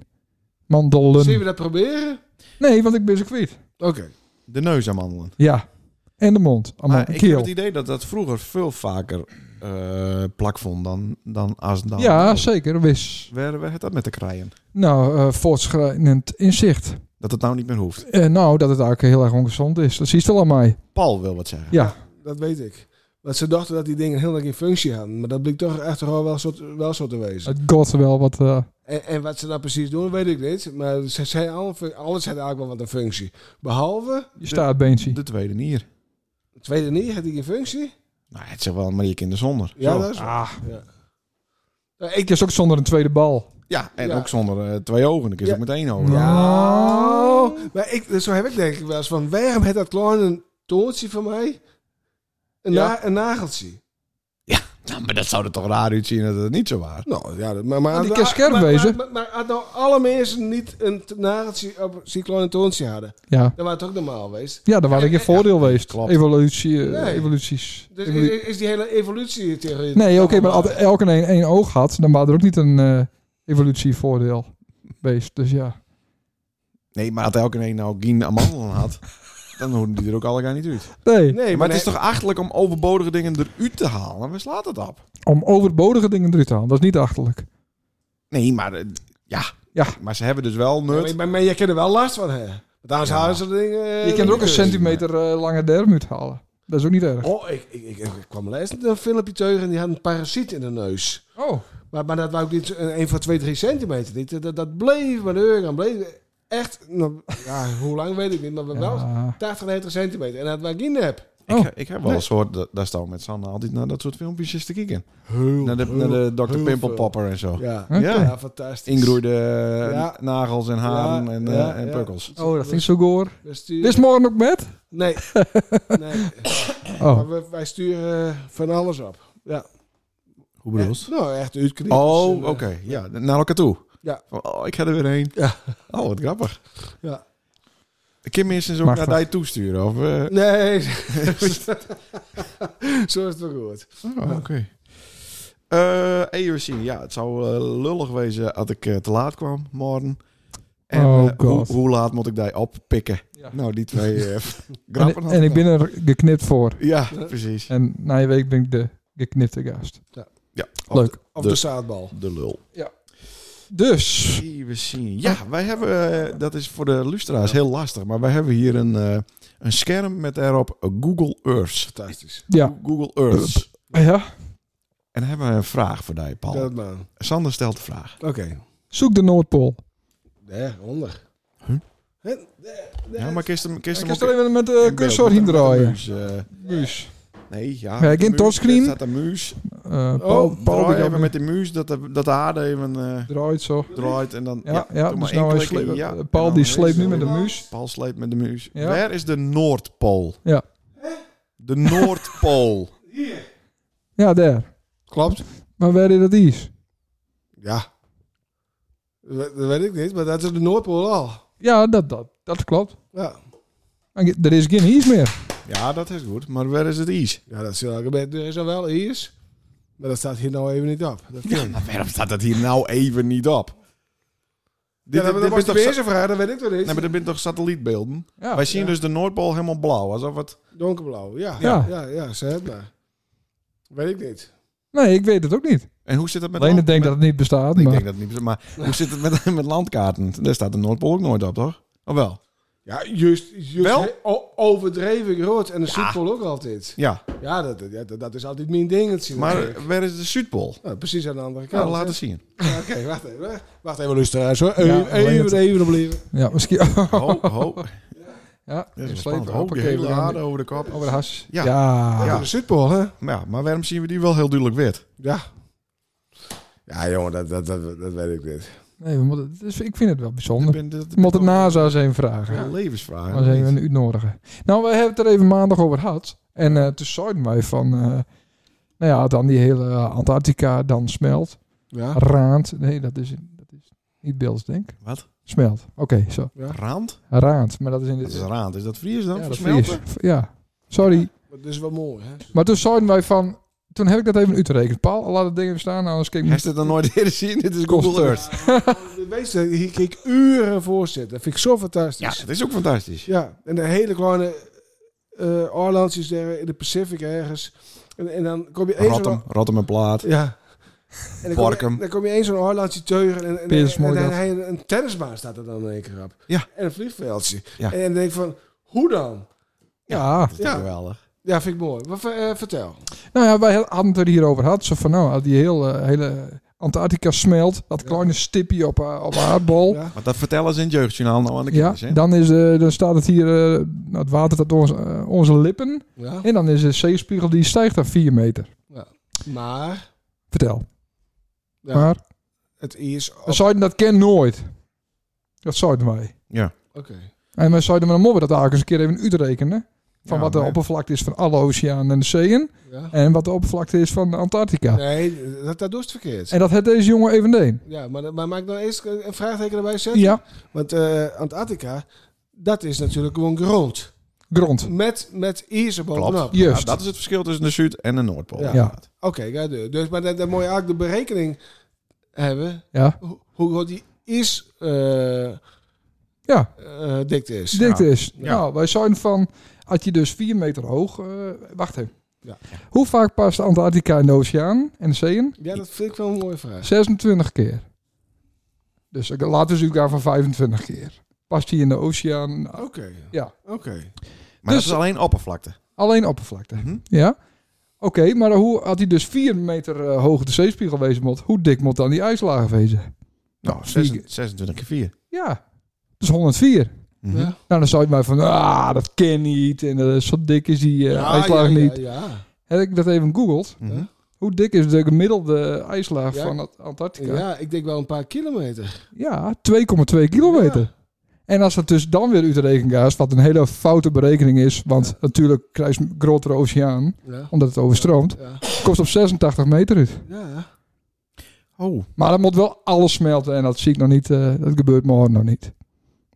[SPEAKER 4] we
[SPEAKER 1] Mandelen.
[SPEAKER 4] dat proberen?
[SPEAKER 1] Nee, want ik ben ze kwijt.
[SPEAKER 4] Oké.
[SPEAKER 5] De neus amandelen.
[SPEAKER 1] Ja. En de mond. Allemaal
[SPEAKER 5] Maar Ah, ik heb
[SPEAKER 1] keel.
[SPEAKER 5] het idee dat dat vroeger veel vaker eh, plak vond dan, dan als dan.
[SPEAKER 1] Ja, zeker. Wis.
[SPEAKER 5] Waar, waar heeft dat met te krijgen?
[SPEAKER 1] Nou, eh, voortschrijdend inzicht.
[SPEAKER 5] Dat het nou niet meer hoeft.
[SPEAKER 1] Eh, nou, dat het eigenlijk heel erg ongezond is. Dat zie je al aan mij.
[SPEAKER 5] Paul wil wat zeggen.
[SPEAKER 1] Ja.
[SPEAKER 4] Dat weet ik. Want ze dachten dat die dingen heel lang in functie hadden. Maar dat bleek toch achteraf wel zo, te- wel zo te wezen.
[SPEAKER 1] Het god wel wat... eh,
[SPEAKER 4] En, en wat ze nou precies doen, weet ik niet. Maar ze zei al, alles had eigenlijk wel wat een functie. Behalve,
[SPEAKER 1] je staartbeentje.
[SPEAKER 5] De tweede nier.
[SPEAKER 4] het tweede niet, had ik in functie.
[SPEAKER 5] Nou, het is wel een manier kinder zonder.
[SPEAKER 4] Ja,
[SPEAKER 5] Zo.
[SPEAKER 4] dat is waar.
[SPEAKER 1] Ah,
[SPEAKER 4] Nou,
[SPEAKER 1] ik
[SPEAKER 4] ik,
[SPEAKER 1] is ook zonder een tweede bal.
[SPEAKER 5] ja en
[SPEAKER 4] Ja.
[SPEAKER 5] ook zonder eh, twee ogen. Dan kun je
[SPEAKER 4] Ja.
[SPEAKER 5] ook met één ogen.
[SPEAKER 1] Nou.
[SPEAKER 4] Nou, maar ik, zo heb ik denk ik wel eens van, waarom heeft dat kleine toortje van mij een,
[SPEAKER 5] Ja.
[SPEAKER 4] na- een nageltje?
[SPEAKER 5] Nou, maar dat zou er toch raar uitzien dat het niet zo was.
[SPEAKER 4] Nou ja, dat- maar, maar,
[SPEAKER 1] Nou, die
[SPEAKER 4] maar-
[SPEAKER 1] kan scherp
[SPEAKER 4] maar-
[SPEAKER 1] wezen.
[SPEAKER 4] Maar, maar, maar had nou alle mensen niet een t- nageltje op cyclone en toontje hadden,
[SPEAKER 1] Ja.
[SPEAKER 4] dan was het ook normaal geweest.
[SPEAKER 1] Ja, daar waren ik in voordeel geweest.
[SPEAKER 5] klopt.
[SPEAKER 1] Evolutie, eh,
[SPEAKER 4] Nee.
[SPEAKER 1] evoluties.
[SPEAKER 4] Dus
[SPEAKER 1] Evolu-
[SPEAKER 4] is, is die hele evolutie tegen
[SPEAKER 1] nee, oké, maar als elke een één oog had, dan was er ook niet een eh evolutievoordeel geweest. Dus ja.
[SPEAKER 5] Nee, maar als elke een nou geen amandelen had, *laughs* dan hoorden die er ook allemaal niet uit.
[SPEAKER 1] Nee,
[SPEAKER 4] Nee,
[SPEAKER 5] maar,
[SPEAKER 4] maar,
[SPEAKER 5] het is toch achterlijk om overbodige dingen eruit te halen? Waar slaat het op?
[SPEAKER 1] om overbodige dingen eruit te halen, dat is niet achterlijk.
[SPEAKER 5] Nee, maar eh, ja.
[SPEAKER 1] Ja.
[SPEAKER 5] Maar ze hebben dus wel
[SPEAKER 4] nee,
[SPEAKER 5] nut.
[SPEAKER 4] maar, maar, maar je kent er wel last van, hè? Want anders
[SPEAKER 5] Ja.
[SPEAKER 4] houden ze dat ding... eh,
[SPEAKER 1] Je kan er ook een
[SPEAKER 4] niet.
[SPEAKER 1] centimeter eh, lange derm uit halen. Dat is ook niet erg.
[SPEAKER 4] Oh, ik, ik, ik, ik kwam laatst een filmpje tegen en die had een parasiet in de neus.
[SPEAKER 1] Oh,
[SPEAKER 4] Maar, maar dat was ook niet eh, een, een van 2, 3 centimeter. Dit- Dat, dat, dat bleef maar deur bleef echt... nou, ja, hoe lang weet ik niet, maar wel
[SPEAKER 1] ja.
[SPEAKER 4] 80, 90 centimeter. En dat was geen nep.
[SPEAKER 1] Oh.
[SPEAKER 5] Ik, he- ik heb wel een soort, da- daar staan we met Sanne altijd naar dat soort filmpjes eens te kijken. naar de, naar de Dr.
[SPEAKER 4] heel
[SPEAKER 5] Pimple
[SPEAKER 4] veel.
[SPEAKER 5] Popper en zo.
[SPEAKER 4] Ja,
[SPEAKER 1] Oké.
[SPEAKER 5] Ja.
[SPEAKER 4] ja fantastisch.
[SPEAKER 5] Ingroeide eh,
[SPEAKER 4] Ja.
[SPEAKER 5] nagels en haren
[SPEAKER 4] Ja,
[SPEAKER 5] en,
[SPEAKER 4] ja,
[SPEAKER 5] eh,
[SPEAKER 4] ja.
[SPEAKER 5] en pukkels.
[SPEAKER 1] oh dat vind ik zo goor.
[SPEAKER 4] We sturen-
[SPEAKER 1] Is morgen ook met? *laughs*
[SPEAKER 4] Nee. nee.
[SPEAKER 1] Oh,
[SPEAKER 4] Maar we, wij sturen eh, van alles op. Ja.
[SPEAKER 5] Hoe
[SPEAKER 4] Echt, nou, echt eh, uitknippen.
[SPEAKER 5] Oh,
[SPEAKER 1] eh,
[SPEAKER 5] oké. Ja, naar elkaar toe.
[SPEAKER 4] Ja.
[SPEAKER 5] Van, Oh, ik ga er weer heen.
[SPEAKER 4] Ja.
[SPEAKER 5] Oh, wat grappig.
[SPEAKER 4] Ja.
[SPEAKER 5] Ik kan minstens ook
[SPEAKER 1] Machtig.
[SPEAKER 5] naar die toesturen. Of, eh,
[SPEAKER 4] Nee. *laughs* Zo is het wel goed.
[SPEAKER 5] oh, oké. Eh, EUC, ja, het zou eh, lullig wezen als ik eh, te laat kwam morgen. En
[SPEAKER 1] Oh,
[SPEAKER 5] eh, hoe,
[SPEAKER 1] God.
[SPEAKER 5] hoe laat moet ik die oppikken?
[SPEAKER 1] Ja.
[SPEAKER 5] Nou, die twee
[SPEAKER 1] *laughs*
[SPEAKER 5] eh,
[SPEAKER 1] en,
[SPEAKER 5] grappen. had
[SPEAKER 1] en ik
[SPEAKER 5] al.
[SPEAKER 1] ben er geknipt voor.
[SPEAKER 5] Ja, precies.
[SPEAKER 1] En na je week ben ik de geknipte gast.
[SPEAKER 5] Ja, of
[SPEAKER 1] Leuk.
[SPEAKER 4] Of
[SPEAKER 5] De-
[SPEAKER 4] de, zaadbal.
[SPEAKER 5] de- De lul.
[SPEAKER 1] Dus,
[SPEAKER 5] Even zien. Ja, wij hebben, eh, dat is voor de lustra's heel lastig, maar wij hebben hier een, eh, een scherm met daarop Google Earth.
[SPEAKER 4] Fantastisch.
[SPEAKER 1] ja.
[SPEAKER 5] Google Earth.
[SPEAKER 1] ja.
[SPEAKER 5] En dan hebben we een vraag voor die, Paul.
[SPEAKER 4] Dat man.
[SPEAKER 5] Sander stelt de vraag.
[SPEAKER 4] Oké.
[SPEAKER 1] Zoek de Noordpool.
[SPEAKER 4] Nee, onder.
[SPEAKER 5] Huh?
[SPEAKER 4] Hè?
[SPEAKER 5] Ja, maar kist hem, kist
[SPEAKER 1] Ik
[SPEAKER 5] hem
[SPEAKER 1] kan
[SPEAKER 5] ook
[SPEAKER 1] het alleen met de
[SPEAKER 5] in beeld,
[SPEAKER 1] cursor
[SPEAKER 5] met
[SPEAKER 1] heen
[SPEAKER 5] een- met een
[SPEAKER 1] draaien.
[SPEAKER 4] Dus,
[SPEAKER 5] muus, eh,
[SPEAKER 1] Muus.
[SPEAKER 5] nee, ja.
[SPEAKER 1] Ja,
[SPEAKER 5] met
[SPEAKER 1] geen
[SPEAKER 5] een muus,
[SPEAKER 1] touchscreen.
[SPEAKER 5] daar staat een muus.
[SPEAKER 1] eh Paul, Paul
[SPEAKER 5] Oh, draai
[SPEAKER 1] die
[SPEAKER 5] even
[SPEAKER 1] dan
[SPEAKER 5] met de muus, dat de, dat de aarde even eh,
[SPEAKER 1] draait zo.
[SPEAKER 5] draait en dan...
[SPEAKER 1] Ja, ja,
[SPEAKER 5] doe maar
[SPEAKER 1] dus
[SPEAKER 5] één
[SPEAKER 1] nou hij
[SPEAKER 5] klik en
[SPEAKER 1] sleept-
[SPEAKER 5] ja,
[SPEAKER 1] eh,
[SPEAKER 5] en
[SPEAKER 1] Paul
[SPEAKER 5] dan
[SPEAKER 1] die
[SPEAKER 5] is
[SPEAKER 1] sleept nu
[SPEAKER 5] het
[SPEAKER 1] met de
[SPEAKER 5] weer.
[SPEAKER 1] muus.
[SPEAKER 5] Paul sleept met de muus.
[SPEAKER 1] Ja.
[SPEAKER 5] Waar is de Noordpool?
[SPEAKER 1] Ja.
[SPEAKER 5] De Noordpool.
[SPEAKER 1] Ja, daar.
[SPEAKER 4] Klopt.
[SPEAKER 1] Maar waar is dat is?
[SPEAKER 4] Ja. Dat weet ik niet, maar dat is de Noordpool al.
[SPEAKER 1] Ja, dat, dat, dat klopt.
[SPEAKER 4] Ja,
[SPEAKER 1] Maar ge- Er is geen ijs meer.
[SPEAKER 5] ja, dat is goed. Maar waar is het ijs?
[SPEAKER 4] ja dat is heel erg gebeurd. Er is al wel IS, maar dat staat hier nou even niet op. Dat kan.
[SPEAKER 5] Maar waarom staat dat hier nou even niet op?
[SPEAKER 4] Dit, ja, dat was
[SPEAKER 5] bent
[SPEAKER 4] de
[SPEAKER 5] toch sa-
[SPEAKER 4] eerste vraag, dat weet ik toch niet.
[SPEAKER 5] Nee, maar dat bent toch satellietbeelden?
[SPEAKER 1] Ja,
[SPEAKER 5] Wij zien
[SPEAKER 4] ja.
[SPEAKER 5] dus de Noordpool helemaal blauw. Alsof het...
[SPEAKER 4] Donkerblauw, ja.
[SPEAKER 1] Ja.
[SPEAKER 4] Ja, ja, ja ze hebben daar. Weet ik niet.
[SPEAKER 1] Nee, ik weet het ook niet.
[SPEAKER 5] En hoe zit dat met...
[SPEAKER 1] Alleen ik
[SPEAKER 5] land-
[SPEAKER 1] denk
[SPEAKER 5] met-
[SPEAKER 1] dat het niet bestaat.
[SPEAKER 5] Ik
[SPEAKER 1] Maar,
[SPEAKER 5] denk dat niet. Maar hoe zit het met, *laughs* met landkaarten? Daar staat de Noordpool ook nooit op, toch? Of wel?
[SPEAKER 4] Ja, juist, juist
[SPEAKER 5] Wel?
[SPEAKER 4] he- o- overdreven groot en de Zuidpool ook altijd.
[SPEAKER 5] Ja.
[SPEAKER 4] Ja, dat, dat, dat, dat is altijd mijn dingetje. natuurlijk.
[SPEAKER 5] Maar waar is de Zuidpool?
[SPEAKER 4] nou, precies aan de andere
[SPEAKER 5] Ja,
[SPEAKER 4] kant.
[SPEAKER 5] laat
[SPEAKER 4] hè.
[SPEAKER 5] het zien.
[SPEAKER 4] Ja, *laughs* Oké, wacht even. hè. Wacht even, luisteraars hoor.
[SPEAKER 1] Ja,
[SPEAKER 4] Even,
[SPEAKER 1] alleen
[SPEAKER 4] even,
[SPEAKER 1] het-
[SPEAKER 4] even opleven.
[SPEAKER 1] ja, misschien.
[SPEAKER 5] Ho, ho.
[SPEAKER 1] *laughs* ja,
[SPEAKER 5] Dat
[SPEAKER 1] we
[SPEAKER 5] is
[SPEAKER 1] slepen,
[SPEAKER 5] spannend. Ho, die
[SPEAKER 1] hoppakee, we
[SPEAKER 5] hele
[SPEAKER 1] gaan
[SPEAKER 5] aarde over de kop.
[SPEAKER 1] Over de has.
[SPEAKER 5] Ja.
[SPEAKER 1] ja.
[SPEAKER 5] Ja.
[SPEAKER 4] Ah, De Zuidpool, hè?
[SPEAKER 5] Maar, ja, maar waarom zien we die wel heel duidelijk wit?
[SPEAKER 4] Ja. Ja, jongen, dat, dat, dat, dat weet ik niet.
[SPEAKER 1] Nee, we moeten, dus ik vind het wel
[SPEAKER 5] Ik
[SPEAKER 1] bijzonder.
[SPEAKER 5] ben- dat-
[SPEAKER 1] We moeten het
[SPEAKER 5] dat-
[SPEAKER 1] NASA eens even vragen.
[SPEAKER 5] Een levensvraag.
[SPEAKER 1] Als even een uitnodigen. Nou, we hebben het er even maandag over gehad. En eh toen zeiden wij van... eh, nou ja, dan die hele Antarctica dan smelt.
[SPEAKER 4] Ja.
[SPEAKER 1] Raand. Nee, dat is, dat is niet beeld, denk ik.
[SPEAKER 5] Wat?
[SPEAKER 1] Smelt. Oké, zo.
[SPEAKER 5] Rand?
[SPEAKER 1] Raand. Maar dat is in de...
[SPEAKER 5] Dat is raand. Is dat Fries
[SPEAKER 1] ja,
[SPEAKER 5] dan?
[SPEAKER 1] dat
[SPEAKER 5] Versmelten?
[SPEAKER 1] is- Ja, sorry.
[SPEAKER 4] Dat is wel mooi, hè?
[SPEAKER 1] Maar toen zeiden wij van... Toen heb ik dat even uitgerekend. Paul, laat het ding even staan. Anders kijk ik
[SPEAKER 5] Hij
[SPEAKER 1] niet.
[SPEAKER 5] heeft het dan nooit eerder zien. Dit is
[SPEAKER 1] Kost
[SPEAKER 5] Google Earth.
[SPEAKER 4] De meeste, hier kijk ik uren voor zitten. Dat vind ik zo
[SPEAKER 5] Ja,
[SPEAKER 4] fantastisch.
[SPEAKER 5] dat is ook fantastisch.
[SPEAKER 4] Ja, en de hele kleine eh eilandjes daar in de Pacific ergens. En, en dan kom je eens
[SPEAKER 5] Rotterdam, Rotterdam en Plaat.
[SPEAKER 4] Ja. En dan kom,
[SPEAKER 5] Parkum.
[SPEAKER 4] je, dan kom je eens zo'n eilandje teugen en, en, en,
[SPEAKER 1] Peers,
[SPEAKER 4] en,
[SPEAKER 1] mooi
[SPEAKER 4] dan
[SPEAKER 1] dat.
[SPEAKER 4] heb je een, een tennisbaan staat er dan in één keer op.
[SPEAKER 5] Ja.
[SPEAKER 4] En een vliegveldje.
[SPEAKER 5] Ja.
[SPEAKER 4] En dan denk ik van, hoe dan?
[SPEAKER 1] Ja.
[SPEAKER 5] Dat is toch
[SPEAKER 4] Ja.
[SPEAKER 5] geweldig.
[SPEAKER 4] Ja, vind ik mooi. Wat, eh, vertel.
[SPEAKER 1] Nou ja, wij hadden het er hierover gehad. Zo van, nou, als die hele, hele Antarctica smelt. Dat
[SPEAKER 4] Ja.
[SPEAKER 1] kleine stipje op, eh, op aardbol.
[SPEAKER 4] Ja.
[SPEAKER 5] Want dat vertellen ze in het jeugdjournaal nou aan de
[SPEAKER 1] Ja,
[SPEAKER 5] kinders, hè?
[SPEAKER 1] dan, is, eh, dan staat het hier, eh, nou, het water dat ons, eh, onze lippen.
[SPEAKER 4] ja.
[SPEAKER 1] En dan is de zeespiegel die stijgt naar 4 meter.
[SPEAKER 4] Maar
[SPEAKER 1] Vertel.
[SPEAKER 4] Ja.
[SPEAKER 1] Maar
[SPEAKER 4] het is... op-
[SPEAKER 1] we zeiden dat ken nooit. Dat zeiden wij.
[SPEAKER 4] Oké.
[SPEAKER 1] En wij zeiden met een mobber dat eigenlijk eens een keer even uitrekenen. Van
[SPEAKER 5] Ja,
[SPEAKER 1] wat de
[SPEAKER 5] maar-
[SPEAKER 1] oppervlakte is van alle oceanen en de zeeën.
[SPEAKER 4] Ja.
[SPEAKER 1] En wat de oppervlakte is van de Antarctica.
[SPEAKER 4] Nee, dat, dat doet het verkeerd.
[SPEAKER 1] En dat had deze jongen even deed.
[SPEAKER 4] Ja, maar, maar maak nou eerst een een vraagteken erbij zetten.
[SPEAKER 1] Ja,
[SPEAKER 4] Want eh, Antarctica, dat is natuurlijk gewoon grond.
[SPEAKER 1] grond.
[SPEAKER 4] Met, met ijs er bovenop.
[SPEAKER 5] Klopt.
[SPEAKER 1] Juist.
[SPEAKER 5] Ja, dat is het verschil tussen de Zuid- en de Noordpool.
[SPEAKER 4] Ja.
[SPEAKER 1] Ja.
[SPEAKER 4] Oké, ja, de- dus, maar dan, dan moet je eigenlijk de berekening hebben
[SPEAKER 1] Ja,
[SPEAKER 4] ho- hoe groot die is eh
[SPEAKER 1] ja.
[SPEAKER 4] eh, dikte is.
[SPEAKER 1] de dikte is.
[SPEAKER 5] Ja.
[SPEAKER 1] Nou, wij zeiden van, had je dus 4 meter hoog... eh, wacht even.
[SPEAKER 4] Ja.
[SPEAKER 1] Hoe vaak past de Antarctica in de oceaan en de zeeën?
[SPEAKER 4] Ja, dat vind ik wel een mooie vraag.
[SPEAKER 1] 26 keer. Dus ik- laten we gaan van 25 keer. Past hij in de oceaan? Nou,
[SPEAKER 4] Oké.
[SPEAKER 1] Ja.
[SPEAKER 4] Oké.
[SPEAKER 5] Maar
[SPEAKER 1] Dus-
[SPEAKER 5] dat is alleen oppervlakte.
[SPEAKER 1] alleen oppervlakte.
[SPEAKER 5] Mhm.
[SPEAKER 1] Ja? Oké, maar hoe had hij dus 4 meter eh, hoog de zeespiegel wezen moet? Hoe dik moet dan die ijslaag wezen?
[SPEAKER 5] Nou,
[SPEAKER 1] vier
[SPEAKER 5] 26
[SPEAKER 1] keer.
[SPEAKER 5] 26 keer Mhm. 4.
[SPEAKER 1] Ja, dat is 104.
[SPEAKER 4] Ja.
[SPEAKER 1] Nou, dan zou je mij van, ah, dat kan niet. En eh, zo dik is die eh,
[SPEAKER 4] Ja,
[SPEAKER 1] ijslaag
[SPEAKER 4] ja,
[SPEAKER 1] niet.
[SPEAKER 4] Ja, ja.
[SPEAKER 1] Heb ik dat even googeld? Hoe dik is de gemiddelde ijslaag
[SPEAKER 4] Ja.
[SPEAKER 1] van Ant- Antarctica?
[SPEAKER 4] Ja, ik denk wel een paar kilometer.
[SPEAKER 1] Ja, 2,2 kilometer.
[SPEAKER 4] Ja.
[SPEAKER 1] En als dat dus dan weer uit de rekening gaat, wat een hele foute berekening is, want
[SPEAKER 4] Ja.
[SPEAKER 1] natuurlijk krijg je een grotere oceaan,
[SPEAKER 4] Ja.
[SPEAKER 1] omdat het overstroomt,
[SPEAKER 4] Ja.
[SPEAKER 1] kost op 86 meter uit.
[SPEAKER 4] ja.
[SPEAKER 5] Oh,
[SPEAKER 1] Maar dat moet wel alles smelten en dat zie ik nog niet, eh, dat gebeurt morgen nog niet.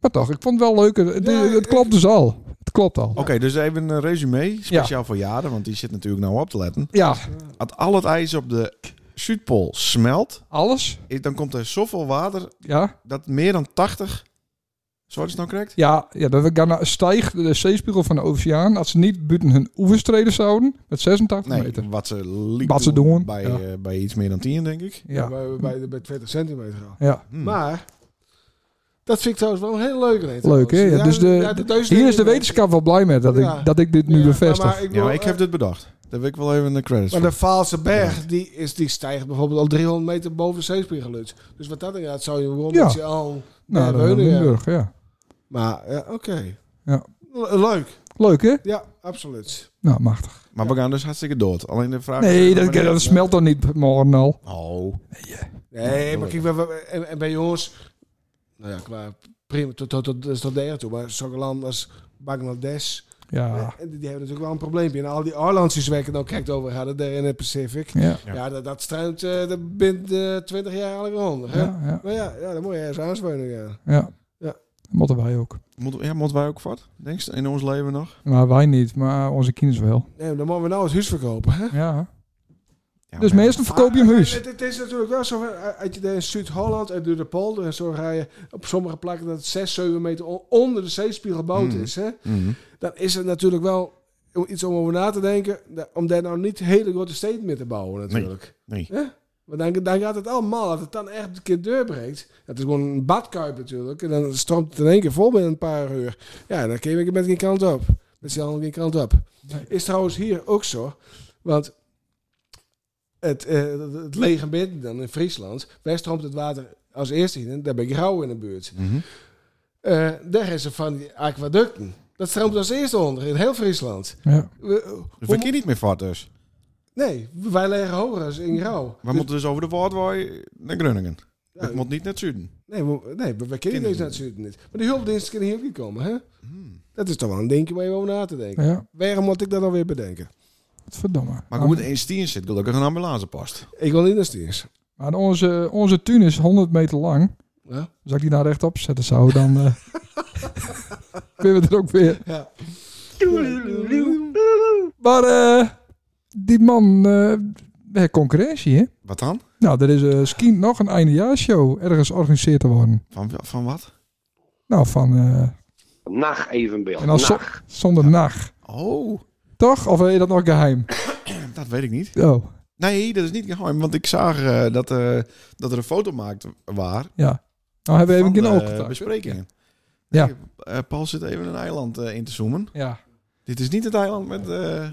[SPEAKER 1] Maar toch, ik vond het wel leuk. Het,
[SPEAKER 4] Ja,
[SPEAKER 1] het
[SPEAKER 4] ik-
[SPEAKER 1] klopt dus al. Het klopt al.
[SPEAKER 5] oké. dus even een resume. Speciaal voor jaren, want die zit natuurlijk nou op te letten.
[SPEAKER 1] Ja,
[SPEAKER 5] Als al het ijs op de Zuidpool smelt,
[SPEAKER 1] alles.
[SPEAKER 5] is- dan komt er zoveel water
[SPEAKER 1] Ja,
[SPEAKER 5] dat meer dan 80... Zo is het nou correct?
[SPEAKER 1] ja, ja dan gaan naar- stijgt de zeespiegel van de oceaan, als ze niet buiten hun oeverstreden zouden, met 86
[SPEAKER 5] Nee,
[SPEAKER 1] meter.
[SPEAKER 5] wat ze liep
[SPEAKER 1] Wat ze
[SPEAKER 5] toen
[SPEAKER 1] doen,
[SPEAKER 5] Bij,
[SPEAKER 1] ja.
[SPEAKER 5] eh, bij iets meer dan 10, denk ik.
[SPEAKER 1] Ja,
[SPEAKER 4] Bij, bij, bij 20 centimeter al.
[SPEAKER 1] ja.
[SPEAKER 5] Hmm.
[SPEAKER 4] Maar, dat vind ik trouwens wel een heel leuke reden.
[SPEAKER 1] Leuk, hè? Ja, dus de- Hier is de wetenschap wel blij mee dat,
[SPEAKER 4] Ja.
[SPEAKER 1] ik, dat ik dit nu bevestig.
[SPEAKER 4] Maar, ik,
[SPEAKER 5] Ja,
[SPEAKER 4] bedoel,
[SPEAKER 5] maar ik heb
[SPEAKER 4] eh,
[SPEAKER 5] dit bedacht. Daar wil ik wel even de credits
[SPEAKER 4] maar
[SPEAKER 5] voor.
[SPEAKER 4] de Vaalse berg, die, is, die stijgt bijvoorbeeld al 300 meter boven de zeespiegel uit. Dus wat dat inderdaad zou je gewoon
[SPEAKER 1] Ja.
[SPEAKER 4] met je al...
[SPEAKER 1] Nou,
[SPEAKER 4] Ja,
[SPEAKER 1] dan
[SPEAKER 4] Weunen, ja.
[SPEAKER 1] Limburg, ja.
[SPEAKER 4] Maar, ja, oké.
[SPEAKER 1] Ja.
[SPEAKER 4] Le- Leuk.
[SPEAKER 1] Leuk, hè?
[SPEAKER 4] Ja, absoluut.
[SPEAKER 1] Nou, machtig.
[SPEAKER 5] Maar we gaan dus hartstikke dood. Alleen de vraag...
[SPEAKER 1] Nee, dat,
[SPEAKER 5] wanneer-
[SPEAKER 1] dat smelt dan niet morgen al.
[SPEAKER 5] Oh.
[SPEAKER 4] Nee, maar kijk, we- we- en, en bij jongens... Nou ja, klaar. Prima, tot, tot, tot, dat is tot daar toe. Maar zulke landen als Bangladesh...
[SPEAKER 1] Ja.
[SPEAKER 4] En die, die hebben natuurlijk wel een probleempje. En al die Arlandjes waar ik het nou kijkt over hadden, daar in het Pacific...
[SPEAKER 1] Ja.
[SPEAKER 5] Ja.
[SPEAKER 4] Ja, dat, dat struimt eh dat bindt eh 20 jaar al rond. hè?
[SPEAKER 1] Ja, ja,
[SPEAKER 4] Maar ja, ja, dan moet je ergens aansweunen. Ja.
[SPEAKER 1] ja.
[SPEAKER 4] Ja.
[SPEAKER 1] Dat Moeten wij ook.
[SPEAKER 5] Moeten ja, moeten wij ook wat? Denk je, in ons leven nog?
[SPEAKER 1] Maar wij niet, maar onze kinders wel.
[SPEAKER 4] Nee, maar dan moeten we nou het huis verkopen. Hè?
[SPEAKER 1] Ja.
[SPEAKER 5] Ja,
[SPEAKER 1] Dus
[SPEAKER 5] maar-
[SPEAKER 1] meestal verkoop je een
[SPEAKER 4] Maar
[SPEAKER 1] huis.
[SPEAKER 4] Het, het is natuurlijk wel zo, hè, uit je- in Zuid-Holland en door de polder en zo ga je op sommige plekken dat het 6, 7 meter on- onder de zeespiegel boot
[SPEAKER 1] Hmm.
[SPEAKER 5] Mm.
[SPEAKER 4] is. Hè?
[SPEAKER 5] Mhm.
[SPEAKER 4] Dan is het natuurlijk wel om iets om over na te denken, da- om daar nou niet hele grote steden mee te bouwen natuurlijk.
[SPEAKER 5] Nee.
[SPEAKER 4] Maar dan, dan gaat het allemaal, dat het dan echt een keer doorbreekt. Dat is gewoon een badkuip natuurlijk. En dan stroomt het in één keer vol binnen een paar uur. Ja, dan kun je met geen kant op. Met z'n allen geen kant op.
[SPEAKER 1] Nee.
[SPEAKER 4] Is trouwens hier ook zo. Want het, eh, het- het lege midden dan in Friesland, daar stroomt het water als eerste in. En Daar ben ik rauw in de buurt.
[SPEAKER 5] Mhm.
[SPEAKER 4] Eh, daar is er van die aquaducten. Dat stroomt als eerste onder in heel Friesland.
[SPEAKER 1] Ja.
[SPEAKER 4] We- eh,
[SPEAKER 5] Dus
[SPEAKER 4] hoe
[SPEAKER 5] we
[SPEAKER 4] mo-
[SPEAKER 5] kunnen niet meer voort dus.
[SPEAKER 4] nee, wij liggen hoger als in Rauw.
[SPEAKER 5] We moeten dus over de Waardwaai naar Groningen.
[SPEAKER 4] Ja,
[SPEAKER 5] Het moet niet naar het zuiden.
[SPEAKER 4] Nee, we, nee, we, we kennen
[SPEAKER 5] Kinderen.
[SPEAKER 4] deze natuurlijk niet. Maar de hulpdiensten kunnen hier ook niet komen, hè? Dat is toch wel een dingetje waar je over na te denken.
[SPEAKER 1] Ja.
[SPEAKER 4] Waarom moet ik dat alweer bedenken?
[SPEAKER 1] Wat verdomme.
[SPEAKER 5] Maar ik moet eens stien zitten. Gelukkig een ambulancepost.
[SPEAKER 4] Ik wil niet naar Stiers.
[SPEAKER 1] Maar onze, onze tuin is 100 meter lang.
[SPEAKER 4] Ja.
[SPEAKER 1] Dus als ik die nou rechtop zetten zou, dan...
[SPEAKER 5] *laughs*
[SPEAKER 1] eh kunnen we er ook weer.
[SPEAKER 4] Ja.
[SPEAKER 1] Maar eh, die man... eh, heeft concurrentie, hè?
[SPEAKER 5] Wat dan?
[SPEAKER 1] Nou, er is eh schijnt nog een eindejaarshow ergens georganiseerd te worden.
[SPEAKER 5] Van, van wat?
[SPEAKER 1] Nou, van... eh,
[SPEAKER 6] Nacht evenbeeld.
[SPEAKER 1] en dan zo-
[SPEAKER 6] Nacht.
[SPEAKER 1] zonder nacht.
[SPEAKER 5] Oh,
[SPEAKER 1] Toch? Of wil je dat nog geheim?
[SPEAKER 5] dat weet ik niet.
[SPEAKER 1] Oh,
[SPEAKER 5] Nee, dat is niet geheim. Want ik zag eh, dat, eh, dat er een foto maakt waar.
[SPEAKER 1] ja. Nou hebben we even
[SPEAKER 5] van eh,
[SPEAKER 1] geen
[SPEAKER 5] de
[SPEAKER 1] oog contact.
[SPEAKER 5] besprekingen.
[SPEAKER 1] Ja.
[SPEAKER 5] Nee, eh, Paul zit even een eiland eh, in te zoomen.
[SPEAKER 1] Ja.
[SPEAKER 5] Dit is niet het eiland met... eh,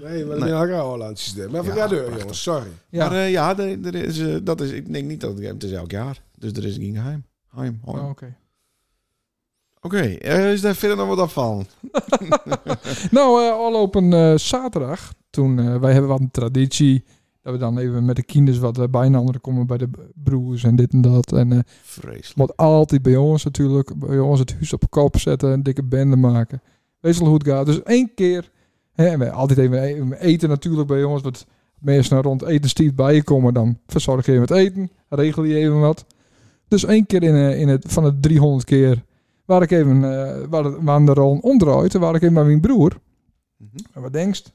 [SPEAKER 4] Nee, maar
[SPEAKER 5] Nee.
[SPEAKER 4] dan ben je ook Hollandjes daar. Maar we
[SPEAKER 5] Ja,
[SPEAKER 4] gaan door,
[SPEAKER 5] prachtig.
[SPEAKER 4] jongens. Sorry.
[SPEAKER 1] Ja.
[SPEAKER 5] Maar eh, ja, er, er is, eh, dat is, ik denk niet dat het, het is elk jaar. Dus er is geen geheim. Heim, heim.
[SPEAKER 1] Oh,
[SPEAKER 5] Oké,
[SPEAKER 1] Oké.
[SPEAKER 5] eh, is daar verder nog wat af van?
[SPEAKER 1] Nou, eh al op een eh, zaterdag, toen eh, wij hebben wat een traditie dat we dan even met de kinders wat eh, bij een ander komen bij de b- broers en dit en dat. En eh
[SPEAKER 5] Vreselijk.
[SPEAKER 1] moet altijd bij ons natuurlijk, bij ons het huis op kop zetten, een dikke bende maken. Wees wel hoe het gaat. Dus één keer, hè, en we altijd even e- even eten natuurlijk bij ons, want meestal rond etenstijd bij je komen, dan verzorg je even het eten, regel je even wat. Dus één keer in, eh, in het, van de 300 keer, waar ik even, eh waar, het- waar de rol omdraait, waar ik even bij mijn broer,
[SPEAKER 5] Mhm.
[SPEAKER 1] en wat denkst?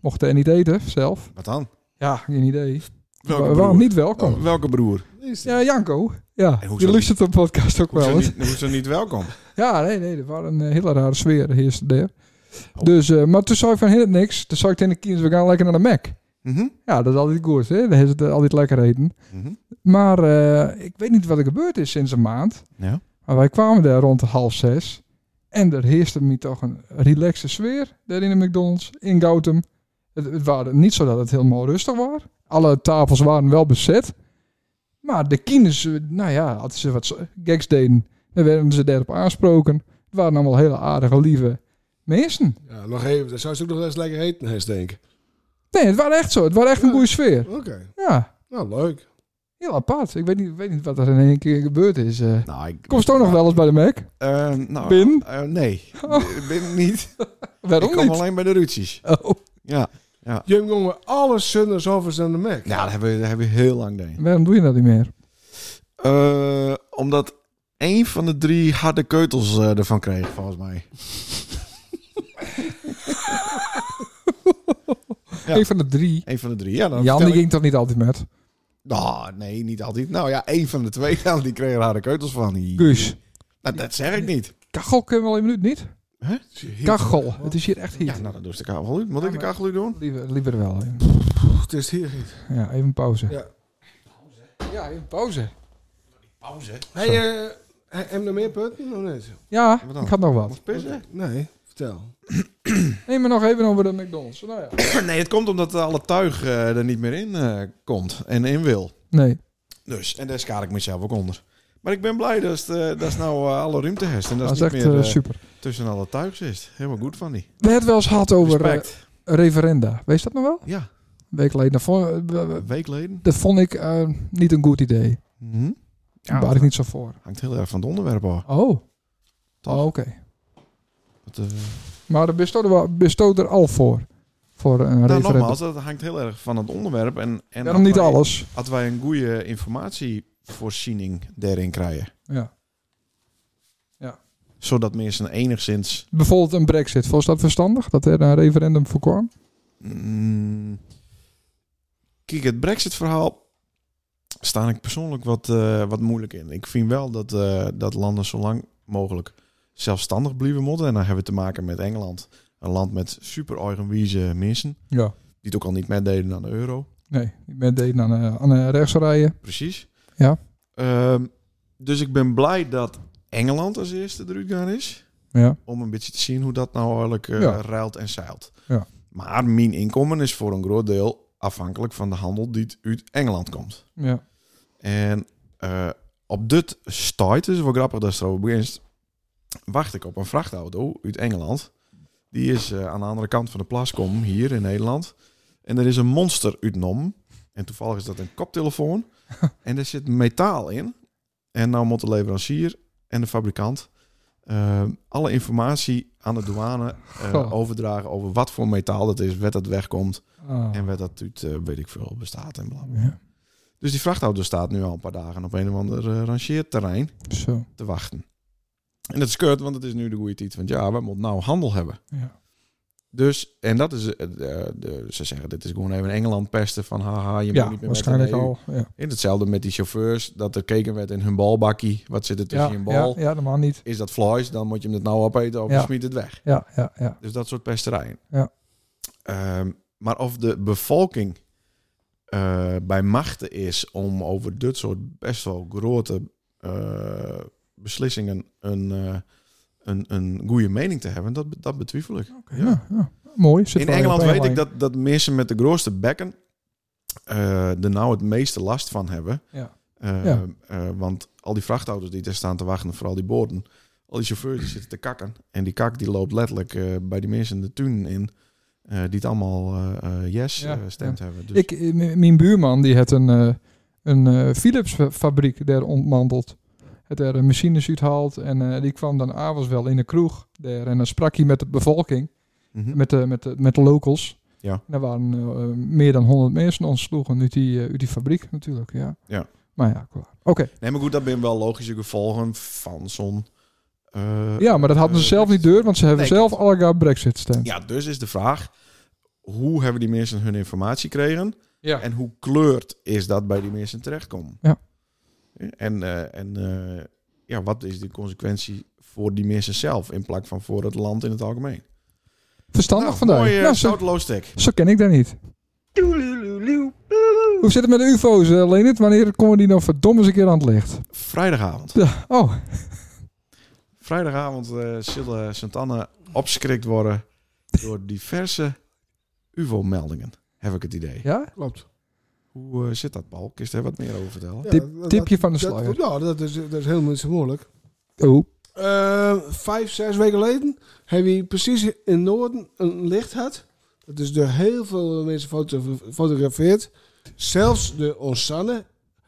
[SPEAKER 1] Mocht hij niet eten zelf?
[SPEAKER 5] Wat dan?
[SPEAKER 1] Ja, geen idee.
[SPEAKER 5] Welke
[SPEAKER 1] Wa-
[SPEAKER 5] broer?
[SPEAKER 1] Waarom niet welkom?
[SPEAKER 5] Oh, welke broer?
[SPEAKER 1] Ja, Janko. Ja,
[SPEAKER 5] En hoezo
[SPEAKER 1] die
[SPEAKER 5] niet?
[SPEAKER 1] luistert op podcast ook wel
[SPEAKER 5] Hoezo
[SPEAKER 1] eens.
[SPEAKER 5] niet, hoezo niet welkom?
[SPEAKER 1] Ja, nee, nee, er was een eh, hele rare sfeer heerste daar.
[SPEAKER 5] Oh.
[SPEAKER 1] Dus, eh, maar toen zei ik van heel niks. Toen zei ik tegen de kinderen, we gaan lekker naar de Mac.
[SPEAKER 5] Mhm,
[SPEAKER 1] Ja, dat is altijd goed, hè. Dan is het eh, altijd lekker eten.
[SPEAKER 5] mhm.
[SPEAKER 1] Maar eh, ik weet niet wat er gebeurd is sinds een maand.
[SPEAKER 5] Ja.
[SPEAKER 1] Maar wij kwamen daar rond half zes. En er heerste me toch een relaxe sfeer daar in de McDonald's, in Gautum. Het, het waren niet zo dat het helemaal rustig was. Alle tafels waren wel bezet. Maar de kinders, eh, nou ja, hadden ze wat geks deden. Dan werden ze daarop aansproken. Het waren allemaal hele aardige, lieve mensen.
[SPEAKER 4] Ja, nog even. Dan zou ze ook nog wel eens lekker eten, hè, denk
[SPEAKER 1] Nee, het was echt zo. Het was echt een
[SPEAKER 4] Ja.
[SPEAKER 1] goede sfeer.
[SPEAKER 4] Oké.
[SPEAKER 1] Ja,
[SPEAKER 4] Nou, leuk.
[SPEAKER 1] heel apart. Ik weet niet, ik weet niet wat er in één keer gebeurd is. eh.
[SPEAKER 5] Nou, ik,
[SPEAKER 1] Kom je toch nog wel eens bij de Mac?
[SPEAKER 5] Eh, nou,
[SPEAKER 1] Bin?
[SPEAKER 5] eh, nee,
[SPEAKER 1] Oh.
[SPEAKER 5] Bin niet.
[SPEAKER 1] *laughs* Waarom
[SPEAKER 5] ik kom
[SPEAKER 1] niet?
[SPEAKER 5] alleen bij de Rutsies.
[SPEAKER 1] Oh.
[SPEAKER 5] Ja,
[SPEAKER 4] Jum, jongen, alle zunders overs aan de Mac.
[SPEAKER 5] ja dat, hebben we, dat hebben we heel lang gedaan.
[SPEAKER 1] Waarom doe je dat niet meer?
[SPEAKER 5] Eh, omdat één van de drie harde keutels eh, ervan kreeg, volgens mij. Ja.
[SPEAKER 1] Een van de drie.
[SPEAKER 5] Eén van de drie, ja.
[SPEAKER 1] Jan
[SPEAKER 5] Dan
[SPEAKER 1] die
[SPEAKER 5] vertel ik-
[SPEAKER 1] ging toch niet altijd met?
[SPEAKER 5] Nou, nee, niet altijd. Nou ja, één van de twee *laughs* dan, die kreeg er harde keutels van. Die...
[SPEAKER 1] Guus.
[SPEAKER 5] Nou, dat zeg ik niet.
[SPEAKER 1] Kachel kunnen we al een minuut niet?
[SPEAKER 5] Hè?
[SPEAKER 1] Kachel. Het is hier echt
[SPEAKER 5] Ja,
[SPEAKER 1] heet.
[SPEAKER 5] nou, dat doet de kachel uit. Moet ik de kachel uit doen?
[SPEAKER 1] Liever, liever wel.
[SPEAKER 4] Het is hier niet.
[SPEAKER 1] Ja, even pauze.
[SPEAKER 4] Ja.
[SPEAKER 1] Ja, even pauze.
[SPEAKER 4] Hey, eh, he- heb je nog meer punten of niet?
[SPEAKER 1] Ja,
[SPEAKER 5] Wat dan?
[SPEAKER 1] ik had nog wat.
[SPEAKER 5] Moet pissen?
[SPEAKER 4] Nee, vertel.
[SPEAKER 1] Neem maar nog even over de McDonald's. Nou ja.
[SPEAKER 5] *clears throat* Nee, het komt omdat alle tuig eh, er niet meer in eh, komt en in wil.
[SPEAKER 1] Nee.
[SPEAKER 5] Dus, en daar schaar ik mezelf ook onder. Maar ik ben blij dat het, eh, dat is nou eh, alle ruimte heeft. En dat
[SPEAKER 1] Dat
[SPEAKER 5] is
[SPEAKER 1] is
[SPEAKER 5] niet
[SPEAKER 1] echt
[SPEAKER 5] meer
[SPEAKER 1] eh,
[SPEAKER 5] eh,
[SPEAKER 1] super.
[SPEAKER 5] tussen alle tuigs is. Helemaal goed van die.
[SPEAKER 1] We hebben het wel eens gehad over eh, oh.
[SPEAKER 5] Respect.
[SPEAKER 1] referenda. Weet je dat nog wel?
[SPEAKER 5] Ja,
[SPEAKER 1] Een week geleden. Nou, Dat vond,
[SPEAKER 5] een week geleden.
[SPEAKER 1] dat vond ik eh, niet een goed idee.
[SPEAKER 5] Mhm.
[SPEAKER 1] Daar
[SPEAKER 5] Ja,
[SPEAKER 1] baar ik niet zo voor.
[SPEAKER 5] hangt heel erg van het onderwerp af.
[SPEAKER 1] Oh.
[SPEAKER 5] Toch?
[SPEAKER 1] Oh, Oké.
[SPEAKER 5] Het, eh,
[SPEAKER 1] Maar er bestoot er, wel- bestoot er al voor. Voor een
[SPEAKER 5] nou,
[SPEAKER 1] referendum.
[SPEAKER 5] nogmaals, dat hangt heel erg van het onderwerp. En, en
[SPEAKER 1] Daarom niet
[SPEAKER 5] als wij-
[SPEAKER 1] alles.
[SPEAKER 5] Als wij een goede informatievoorziening daarin krijgen.
[SPEAKER 1] Ja.
[SPEAKER 5] Zodat mensen enigszins...
[SPEAKER 1] Bijvoorbeeld een brexit. Was dat verstandig? Dat er een referendum voor kwam?
[SPEAKER 5] Mm, kijk, het Brexit-verhaal sta ik persoonlijk wat, eh, wat moeilijk in. Ik vind wel dat, eh, dat landen zo lang mogelijk zelfstandig blijven moeten. En dan hebben we te maken met Engeland. Een land met super eigenwijze mensen.
[SPEAKER 1] Ja.
[SPEAKER 5] Die het ook al niet meededen aan de euro.
[SPEAKER 1] Nee. Ik ben deed aan, eh, aan eh, rechts rijden.
[SPEAKER 5] Precies.
[SPEAKER 1] Ja.
[SPEAKER 5] Ehm, dus ik ben blij dat Engeland als eerste eruit gaan is.
[SPEAKER 1] Ja.
[SPEAKER 5] om een beetje te zien hoe dat nou eigenlijk eh,
[SPEAKER 1] Ja.
[SPEAKER 5] ruilt en zeilt.
[SPEAKER 1] Ja.
[SPEAKER 5] Maar mijn inkomen is voor een groot deel afhankelijk van de handel die het uit Engeland komt.
[SPEAKER 1] Ja.
[SPEAKER 5] En eh, op dit stuit, dus wel grappig dat je erover begint, wacht ik op een vrachtauto uit Engeland. Die is eh, aan de andere kant van de plas kom, hier in Nederland. En er is een monster uit Nom. En toevallig is dat een koptelefoon. en er zit metaal in. En nou moet de leverancier en de fabrikant eh, alle informatie aan de douane eh,
[SPEAKER 1] Goh.
[SPEAKER 5] overdragen over wat voor metaal dat is, waar dat wegkomt
[SPEAKER 1] Ah.
[SPEAKER 5] en waar dat uit, eh, weet ik veel, bestaat en bla. bla.
[SPEAKER 1] ja.
[SPEAKER 5] Dus die vrachtauto staat nu al een paar dagen op een of ander eh, rangeerterrein
[SPEAKER 1] Zo.
[SPEAKER 5] te wachten. En dat is kut, want het is nu de goede tijd van ja, we moeten nou handel hebben.
[SPEAKER 1] Ja.
[SPEAKER 5] Dus, en dat is, eh, de, de- ze zeggen, dit is gewoon even Engeland pesten van haha, je
[SPEAKER 1] Ja,
[SPEAKER 5] moet niet meer
[SPEAKER 1] waarschijnlijk
[SPEAKER 5] met E de EU.
[SPEAKER 1] al. Ja.
[SPEAKER 5] En hetzelfde met die chauffeurs, dat er keken werd in hun balbakkie, wat zit er tussen
[SPEAKER 1] Ja,
[SPEAKER 5] je
[SPEAKER 1] ja,
[SPEAKER 5] bal?
[SPEAKER 1] ja, normaal niet.
[SPEAKER 5] Is dat vlees, dan moet je hem het nou opeten of
[SPEAKER 1] Ja.
[SPEAKER 5] je smiet het weg.
[SPEAKER 1] Ja, ja, ja.
[SPEAKER 5] Dus dat soort pesterijen.
[SPEAKER 1] Ja.
[SPEAKER 5] Ehm, maar of de bevolking eh, bij machten is om over dit soort best wel grote eh, beslissingen een, eh, een, een goede mening te hebben, dat, dat betwijfel ik.
[SPEAKER 1] Oké, ja, ja. Mooi. Zit
[SPEAKER 5] In
[SPEAKER 1] wel
[SPEAKER 5] Engeland
[SPEAKER 1] op één
[SPEAKER 5] weet ik
[SPEAKER 1] lijn.
[SPEAKER 5] dat, dat mensen met de grootste bekken eh er nou het meeste last van hebben.
[SPEAKER 1] Ja.
[SPEAKER 5] Eh,
[SPEAKER 1] Ja.
[SPEAKER 5] eh, want al die vrachtauto's die er staan te wachten, vooral die boorden, al die chauffeurs die zitten te kakken. En die kak die loopt letterlijk eh, bij die mensen de tuin in, eh, die het allemaal eh, eh, yes
[SPEAKER 1] Ja,
[SPEAKER 5] eh, stemd hebben. Dus,
[SPEAKER 1] Ik, eh, m- mijn buurman die had een, eh, een eh, Philips fa- fabriek daar ontmanteld. Het er een machines uithaalt en eh, die kwam dan avonds wel in de kroeg daar. En dan sprak hij met de bevolking,
[SPEAKER 5] Mhm.
[SPEAKER 1] met de, met de, met de locals.
[SPEAKER 5] Ja.
[SPEAKER 1] En daar waren eh, meer dan 100 mensen ontsloegen uit die, eh, uit die fabriek natuurlijk, ja.
[SPEAKER 5] Ja. Eh,
[SPEAKER 1] Maar ja, klaar. Oké,
[SPEAKER 5] Nee, maar goed, dat zijn wel logische gevolgen van zo'n... eh,
[SPEAKER 1] ja, maar dat hadden ze
[SPEAKER 5] eh,
[SPEAKER 1] zelf niet deur, want ze hebben
[SPEAKER 5] Nee,
[SPEAKER 1] zelf allegaar brexit stemd.
[SPEAKER 5] Ja, dus is de vraag, hoe hebben die mensen hun informatie gekregen?
[SPEAKER 1] Ja.
[SPEAKER 5] En hoe kleurt is dat bij die mensen terechtkomen?
[SPEAKER 1] Ja.
[SPEAKER 5] En, eh, en eh, ja, wat is de consequentie voor die mensen zelf in plaats van voor het land in het algemeen?
[SPEAKER 1] Verstandig
[SPEAKER 5] Nou,
[SPEAKER 1] vandaag.
[SPEAKER 5] Mooi, uh,
[SPEAKER 1] Nou, zo, zo ken ik dat niet. Hoe zit het met de ufo's, eh, Leonard? Wanneer komen die nou verdomme eens een keer aan het licht?
[SPEAKER 5] Vrijdagavond.
[SPEAKER 1] *laughs* Oh,
[SPEAKER 5] Vrijdagavond eh, zullen Sint-Anne opgeschrikt worden door diverse UVO-meldingen, heb ik het idee.
[SPEAKER 1] Ja?
[SPEAKER 4] Klopt.
[SPEAKER 5] Hoe eh, zit dat, Paul? Kun je daar wat meer over vertellen?
[SPEAKER 4] Ja,
[SPEAKER 1] Tip-
[SPEAKER 4] dat-
[SPEAKER 1] tipje van de
[SPEAKER 4] dat-
[SPEAKER 1] sluier.
[SPEAKER 4] Ja, dat is, dat is helemaal niet zo moeilijk.
[SPEAKER 1] Oh.
[SPEAKER 4] Eh, vijf, zes weken geleden hebben we precies in het noorden een licht gehad. Dat is door heel veel mensen gefotografeerd. Zelfs de Osanne,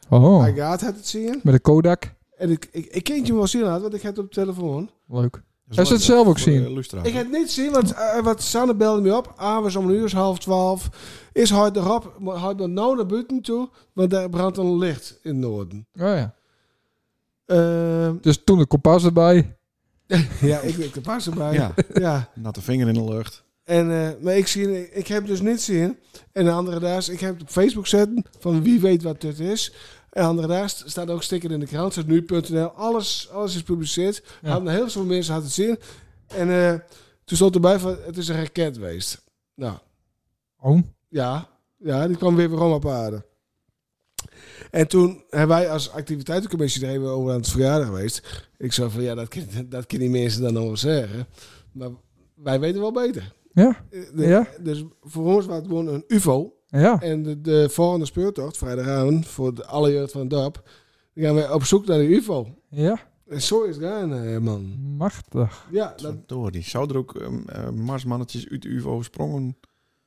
[SPEAKER 1] oh.
[SPEAKER 4] Agathe had het zien.
[SPEAKER 1] Met de Kodak.
[SPEAKER 4] En ik, ik, ik kindje wel zien had, want ik had het op de telefoon.
[SPEAKER 1] Leuk. Hij
[SPEAKER 5] Dat is eh,
[SPEAKER 1] ze het zelf ook zien?
[SPEAKER 4] Ik had het niet zien, want, eh, want Sanne belde me op. Avonds om een uur, is half twaalf. Is hij erop, maar hij dan nou naar buiten toe, want daar brandt een licht in het noorden.
[SPEAKER 1] Oh ja.
[SPEAKER 4] Eh,
[SPEAKER 1] Dus toen de kompas erbij.
[SPEAKER 4] ja, ik, ik pas erbij.
[SPEAKER 5] Ja,
[SPEAKER 4] ja.
[SPEAKER 5] natte vinger in de lucht.
[SPEAKER 4] En, eh, maar ik, zie, ik heb dus niet zien. En de andere daas, ik heb het op Facebook zetten van wie weet wat dit is. En de andere daas staat ook sticker in de krant, staat nu.nl. Alles, alles is gepubliceerd.
[SPEAKER 1] Ja.
[SPEAKER 4] Hadden heel veel mensen hadden het zien. En eh, toen stond erbij van het is een raket geweest. Nou,
[SPEAKER 1] Oh.
[SPEAKER 4] ja. Ja, die kwam weer weer om op aarde. En toen hebben wij als activiteitencommissie er even over aan het verjaardag geweest. Ik zei van ja, dat kunnen dat kunnen die mensen dan nog wel zeggen. Maar wij weten wel beter.
[SPEAKER 1] Ja.
[SPEAKER 4] Eh, de-
[SPEAKER 1] Ja?
[SPEAKER 4] Dus voor ons was het gewoon een UFO.
[SPEAKER 1] Ja.
[SPEAKER 4] En de, de volgende speurtocht, vrijdagavond, voor de, alle jeugd van het dorp. Dan gaan we op zoek naar de UFO.
[SPEAKER 1] Ja,
[SPEAKER 4] En zo is het gaan, eh, man.
[SPEAKER 1] machtig.
[SPEAKER 4] Ja, dat,
[SPEAKER 5] Door die zou er ook ehm, eh, Marsmannetjes uit de UFO sprongen.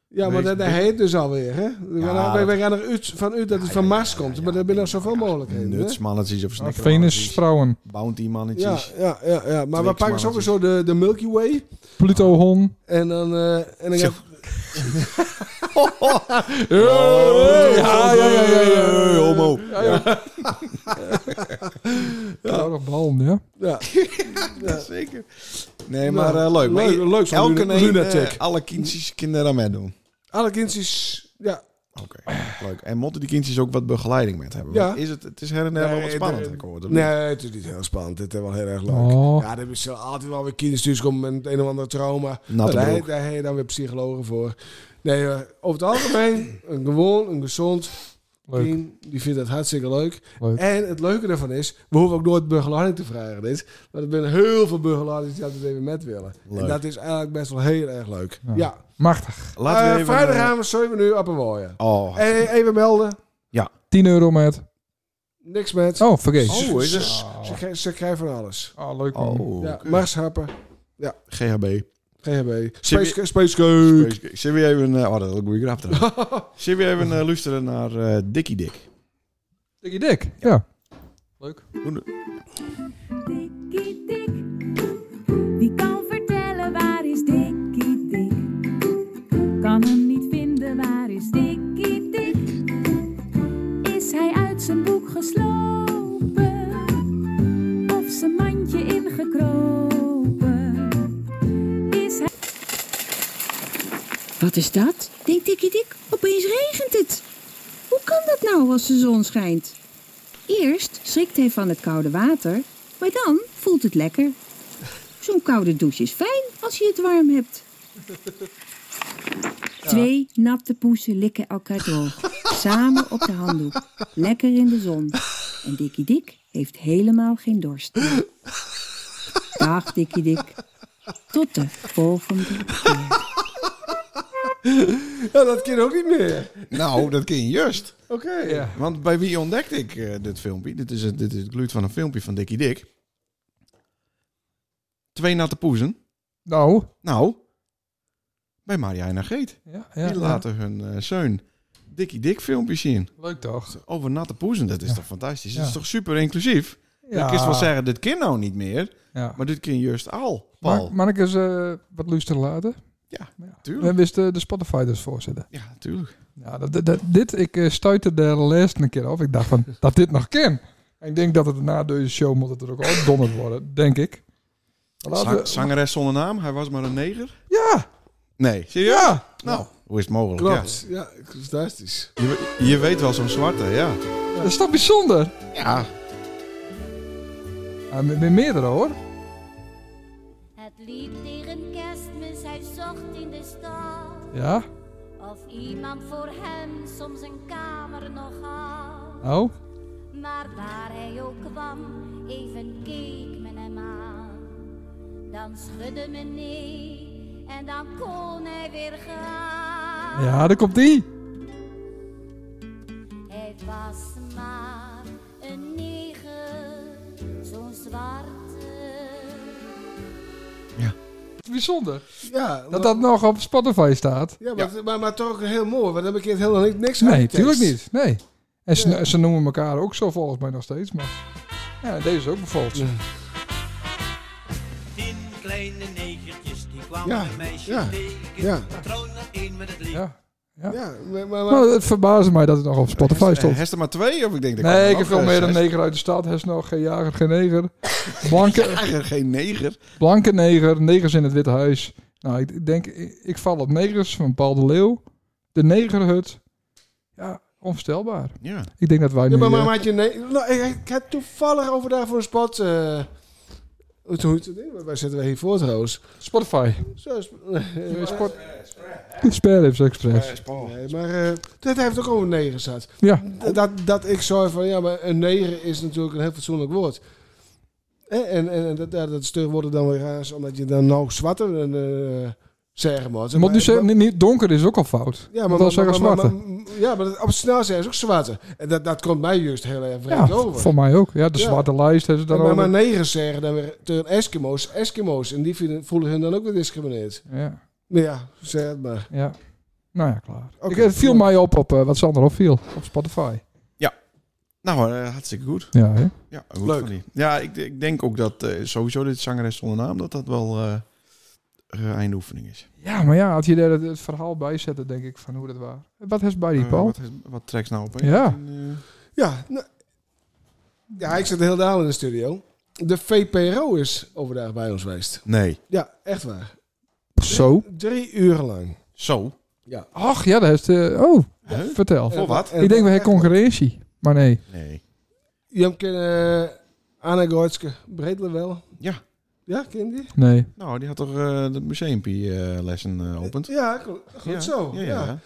[SPEAKER 4] ja maar
[SPEAKER 5] Wees
[SPEAKER 4] dat, dat
[SPEAKER 5] dik.
[SPEAKER 4] heet dus alweer. Hè? We,
[SPEAKER 5] Ja,
[SPEAKER 4] gaan, we,
[SPEAKER 5] dat-
[SPEAKER 4] gaan eruit vanuit dat het van Mars komt. maar er zijn nog zoveel mogelijkheden. hè?
[SPEAKER 5] Nutsmannetjes of
[SPEAKER 1] Ah, Venus,
[SPEAKER 5] snikkermannetjes.
[SPEAKER 1] vrouwen.
[SPEAKER 5] Bounty
[SPEAKER 4] Ja,
[SPEAKER 5] mannetjes.
[SPEAKER 4] ja, ja, ja. Maar we pakken sowieso de, de Milky Way.
[SPEAKER 1] Pluto, hon.
[SPEAKER 4] En dan, eh en dan
[SPEAKER 5] Zo.
[SPEAKER 4] gaan-
[SPEAKER 5] Oh,
[SPEAKER 1] Ja, ja, ja, ja, ja.
[SPEAKER 5] Homo.
[SPEAKER 1] Ja, ja. Koude bal, ja.
[SPEAKER 5] *laughs*
[SPEAKER 4] ja.
[SPEAKER 5] Zeker.
[SPEAKER 4] Nou,
[SPEAKER 5] Nee, maar eh, leuk. Maar
[SPEAKER 4] leuk-
[SPEAKER 5] je-
[SPEAKER 4] leuk zo'n
[SPEAKER 5] elke
[SPEAKER 4] luna-
[SPEAKER 5] een,
[SPEAKER 4] lunatic.
[SPEAKER 5] eh, alle kindjes kinderen aan meedoen.
[SPEAKER 4] Alle kindjes, ja.
[SPEAKER 5] Oké, leuk. En moeten die kindjes ook wat begeleiding met hebben?
[SPEAKER 4] Ja.
[SPEAKER 5] Want Is het, het is her en der wel wat
[SPEAKER 4] Nee,
[SPEAKER 5] spannend,
[SPEAKER 4] de-
[SPEAKER 5] heb ik gehoord.
[SPEAKER 4] Nee, het is niet heel spannend. Dit is wel heel erg leuk.
[SPEAKER 1] Oh.
[SPEAKER 4] Ja, er zullen altijd wel weer kinderen thuiskomen met het een of ander trauma.
[SPEAKER 5] Natte
[SPEAKER 4] daar,
[SPEAKER 5] broek.
[SPEAKER 4] daar heb je dan weer psychologen voor. Nee, eh, over het algemeen, een gewoon, een gezond
[SPEAKER 1] Leuk,
[SPEAKER 4] kind. Die vindt dat hartstikke leuk.
[SPEAKER 1] leuk.
[SPEAKER 4] En het leuke daarvan is, we hoeven ook nooit begeleiding te vragen. Dit. Want er zijn heel veel begeleiders die altijd even met willen.
[SPEAKER 5] Leuk.
[SPEAKER 4] En dat is eigenlijk best wel heel erg leuk.
[SPEAKER 1] Ja.
[SPEAKER 4] Ja.
[SPEAKER 1] Machtig.
[SPEAKER 5] Laten
[SPEAKER 4] Eh,
[SPEAKER 5] we even...
[SPEAKER 4] vrijdag
[SPEAKER 5] eh,
[SPEAKER 4] gaan we 7 uur op een waaien.
[SPEAKER 5] Oh,
[SPEAKER 4] En even melden.
[SPEAKER 1] 10 euro met.
[SPEAKER 4] Niks met.
[SPEAKER 1] Oh, vergeet.
[SPEAKER 5] Oh, is het?
[SPEAKER 4] Ze, krijgen- ze krijgen van alles.
[SPEAKER 1] Oh, leuk man.
[SPEAKER 5] oh
[SPEAKER 4] Ja,
[SPEAKER 5] oké.
[SPEAKER 4] Marshappen,
[SPEAKER 5] GHB.
[SPEAKER 4] GHB,
[SPEAKER 5] Zit
[SPEAKER 4] Space, Space Coke.
[SPEAKER 5] Zullen we even... eh, oh, dat is een goede grap trouwens.
[SPEAKER 4] *laughs*
[SPEAKER 5] Zullen we even eh, luisteren naar eh, Dikkie Dik?
[SPEAKER 1] Dikkie dik. Ja.
[SPEAKER 7] Dikkie dik. Wie kan vertellen waar is Dikkie dik? Kan hem niet vinden, waar is Dikkie dik? Is hij uit zijn boek geslopen? Of zijn mandje ingekropen? Is hij...
[SPEAKER 8] Wat is dat?
[SPEAKER 9] Dik, tikkie, dik, opeens regent het. Hoe kan dat nou als de zon schijnt? Eerst schrikt hij van het koude water, maar dan voelt het lekker. Zo'n koude douche is fijn als je het warm hebt.
[SPEAKER 8] Twee natte poezen likken elkaar droog. Samen op de handdoek. Lekker in de zon. En Dikkie Dik heeft helemaal geen dorst. meer. Dag Dikkie Dik. Tot de volgende keer.
[SPEAKER 4] Ja, dat kind ook niet meer.
[SPEAKER 5] Nou, dat ken je juist.
[SPEAKER 4] Oké.
[SPEAKER 1] Ja.
[SPEAKER 5] Want bij wie ontdekte ik eh, dit filmpje? Dit is, het- dit is het geluid van een filmpje van Dikkie Dik. Twee natte poezen.
[SPEAKER 1] Nou.
[SPEAKER 5] Nou, bij Mariana Geet.
[SPEAKER 1] Ja, ja,
[SPEAKER 5] die
[SPEAKER 1] ja.
[SPEAKER 5] laten hun eh, zoon Dikkie Dik filmpjes zien.
[SPEAKER 1] Leuk toch?
[SPEAKER 5] Over natte poezen, dat is
[SPEAKER 1] Ja.
[SPEAKER 5] toch fantastisch?
[SPEAKER 1] Ja.
[SPEAKER 5] Dat is toch super inclusief?
[SPEAKER 1] Ja.
[SPEAKER 5] Ik kan wel zeggen, dit kind nou niet meer,
[SPEAKER 1] Ja.
[SPEAKER 5] maar dit kind juist al. Paul,
[SPEAKER 1] Maar, mag ik eens eh, wat luisteren laten?
[SPEAKER 5] tuurlijk.
[SPEAKER 1] We wisten de, de Spotify dus voorzitten.
[SPEAKER 5] Ja, tuurlijk.
[SPEAKER 1] Ja, dat, dat- dat- dit, ik eh, stuitte de les een keer af. Ik dacht
[SPEAKER 5] *laughs*
[SPEAKER 1] van, dat dit nog kan. En ik denk dat het na deze show moet het er ook al dommer worden, denk ik. Maar laten
[SPEAKER 5] Zang-
[SPEAKER 1] we-
[SPEAKER 5] zangeres zonder naam, hij was maar een neger.
[SPEAKER 1] Ja,
[SPEAKER 5] Nee, serieus?
[SPEAKER 1] ja.
[SPEAKER 5] Nou, hoe is het mogelijk?
[SPEAKER 4] Klopt. Ja, fantastisch.
[SPEAKER 5] Ja. Je, we- je weet wel, zo'n zwarte, ja.
[SPEAKER 1] Dat is toch bijzonder?
[SPEAKER 5] Ja,
[SPEAKER 1] Ja, met, met meerdere hoor.
[SPEAKER 7] Het lied leren kerstmis, hij zocht in de stad.
[SPEAKER 1] Ja,
[SPEAKER 7] Of iemand voor hem soms een kamer nog had.
[SPEAKER 1] oh.
[SPEAKER 7] Maar waar hij ook kwam, even keek men hem aan. Dan schudde men nee en dan kon hij weer gaan.
[SPEAKER 1] Ja, daar komt die.
[SPEAKER 7] Hij was maar een neger, zo'n zwarte.
[SPEAKER 1] Bijzonder.
[SPEAKER 4] Ja,
[SPEAKER 1] Dat dat nog op Spotify staat.
[SPEAKER 4] ja, maar, Maar, maar toch ook heel mooi, want dan heb ik het helemaal niet- niks aan
[SPEAKER 1] Nee,
[SPEAKER 4] die tekst.
[SPEAKER 1] tuurlijk niet. Nee. En ze, ze noemen elkaar ook zo volgens mij nog steeds. Maar ja, deze is ook bijvoorbeeld.
[SPEAKER 3] Tien kleine negertjes, die kwamen
[SPEAKER 4] Ja,
[SPEAKER 3] een meisje
[SPEAKER 4] ja,
[SPEAKER 3] tegen.
[SPEAKER 4] ja.
[SPEAKER 3] Patroon naar één met het lied.
[SPEAKER 1] Ja.
[SPEAKER 4] Ja, maar, maar, maar-
[SPEAKER 1] Maar het verbaasde mij dat het nog op Spotify
[SPEAKER 5] Hester,
[SPEAKER 1] stond.
[SPEAKER 5] Hester maar twee? Of ik denk, er komen
[SPEAKER 1] Nee, ik
[SPEAKER 5] nog,
[SPEAKER 1] heb veel
[SPEAKER 5] eh,
[SPEAKER 1] meer dan
[SPEAKER 5] zes.
[SPEAKER 1] neger uit de stad. Hij is nog geen jager, geen neger. *laughs* Blanke,
[SPEAKER 5] Eigenlijk geen neger.
[SPEAKER 1] blanke neger, negers in het Witte Huis. Nou, ik denk, ik, ik val op negers van Paul de Leeuw. De negerhut. Ja, onvoorstelbaar.
[SPEAKER 5] Ja.
[SPEAKER 1] Ik denk dat wij nu...
[SPEAKER 4] ja, maar, maar,
[SPEAKER 1] eh,
[SPEAKER 4] maar had je... Nee, nou, ik, ik had toevallig overdag voor een spot... eh hoe hoe heet het ding? Waar zitten we hiervoor trouwens?
[SPEAKER 1] Spotify.
[SPEAKER 4] Zo, is- *laughs*
[SPEAKER 1] Eh, Sport... Spare Lips Express.
[SPEAKER 4] nee, maar eh, dat heeft ook over negen zat.
[SPEAKER 1] Ja,
[SPEAKER 4] Dat- Dat, dat ik zei van, ja, maar een neger is natuurlijk een heel fatsoenlijk woord. Hè, En, en, en dat, ja, dat steur worden dan weer raars, omdat je dan nou zwarter en eh zeggen maar.
[SPEAKER 1] Maar nu zeggen, nee, nee, donker is ook al fout. Ja,
[SPEAKER 4] Ja, maar,
[SPEAKER 1] maar
[SPEAKER 4] maar-
[SPEAKER 1] dan zeggen
[SPEAKER 4] maar- maar-
[SPEAKER 1] zwarte.
[SPEAKER 4] maar- ja, maar dat- op het snel zijn is ook zwarte. En dat, dat komt mij juist heel erg vreemd
[SPEAKER 1] ja,
[SPEAKER 4] over.
[SPEAKER 1] voor mij ook. Ja, de
[SPEAKER 4] Ja.
[SPEAKER 1] zwarte lijst hebben ze
[SPEAKER 4] En
[SPEAKER 1] daar
[SPEAKER 4] maar,
[SPEAKER 1] ook.
[SPEAKER 4] maar negers zeggen dan weer tegen Eskimo's, Eskimo's. En die vinden, voelen hun dan ook weer discrimineerd.
[SPEAKER 1] Ja,
[SPEAKER 4] Maar ja, zeg het maar.
[SPEAKER 1] ja. Nou ja, klaar.
[SPEAKER 4] Oké,
[SPEAKER 1] Ik, het viel
[SPEAKER 4] goed.
[SPEAKER 1] mij op op eh, wat Sander opviel op Spotify.
[SPEAKER 5] Nou, eh, hartstikke goed.
[SPEAKER 1] Ja, hè?
[SPEAKER 5] Ja, goed
[SPEAKER 4] Leuk.
[SPEAKER 5] van die. Ja, ik, ik denk ook dat eh, sowieso dit zangeres zonder naam, dat dat wel eh, eh, eindoefening is.
[SPEAKER 1] ja maar ja, had je daar het, het verhaal bij zetten, denk ik, van hoe dat was. Wat is bij die
[SPEAKER 5] Eh,
[SPEAKER 1] Paul?
[SPEAKER 5] wat, is- wat trekt nou op?
[SPEAKER 1] Ja.
[SPEAKER 4] Ja, nou, ja, ik zit heel dagen in de studio. De VPRO is overdag bij ons geweest.
[SPEAKER 5] nee.
[SPEAKER 4] Ja, echt waar.
[SPEAKER 1] Zo.
[SPEAKER 4] Drie uren lang.
[SPEAKER 5] Zo.
[SPEAKER 1] Ach ja, dat is de. Oh,
[SPEAKER 5] Huh?
[SPEAKER 1] vertel.
[SPEAKER 5] Voor wat?
[SPEAKER 1] ik denk we hebben concurrentie. Maar nee.
[SPEAKER 5] Nee.
[SPEAKER 4] Je kent eh Anna Goitske Breedle wel.
[SPEAKER 5] Ja.
[SPEAKER 4] Ja, ken je die?
[SPEAKER 1] Nee.
[SPEAKER 5] Nou, die had toch eh de museumpie-lessen opent?
[SPEAKER 4] Ja, goed, goed zo.
[SPEAKER 5] Ja,
[SPEAKER 4] Ja,
[SPEAKER 5] ja.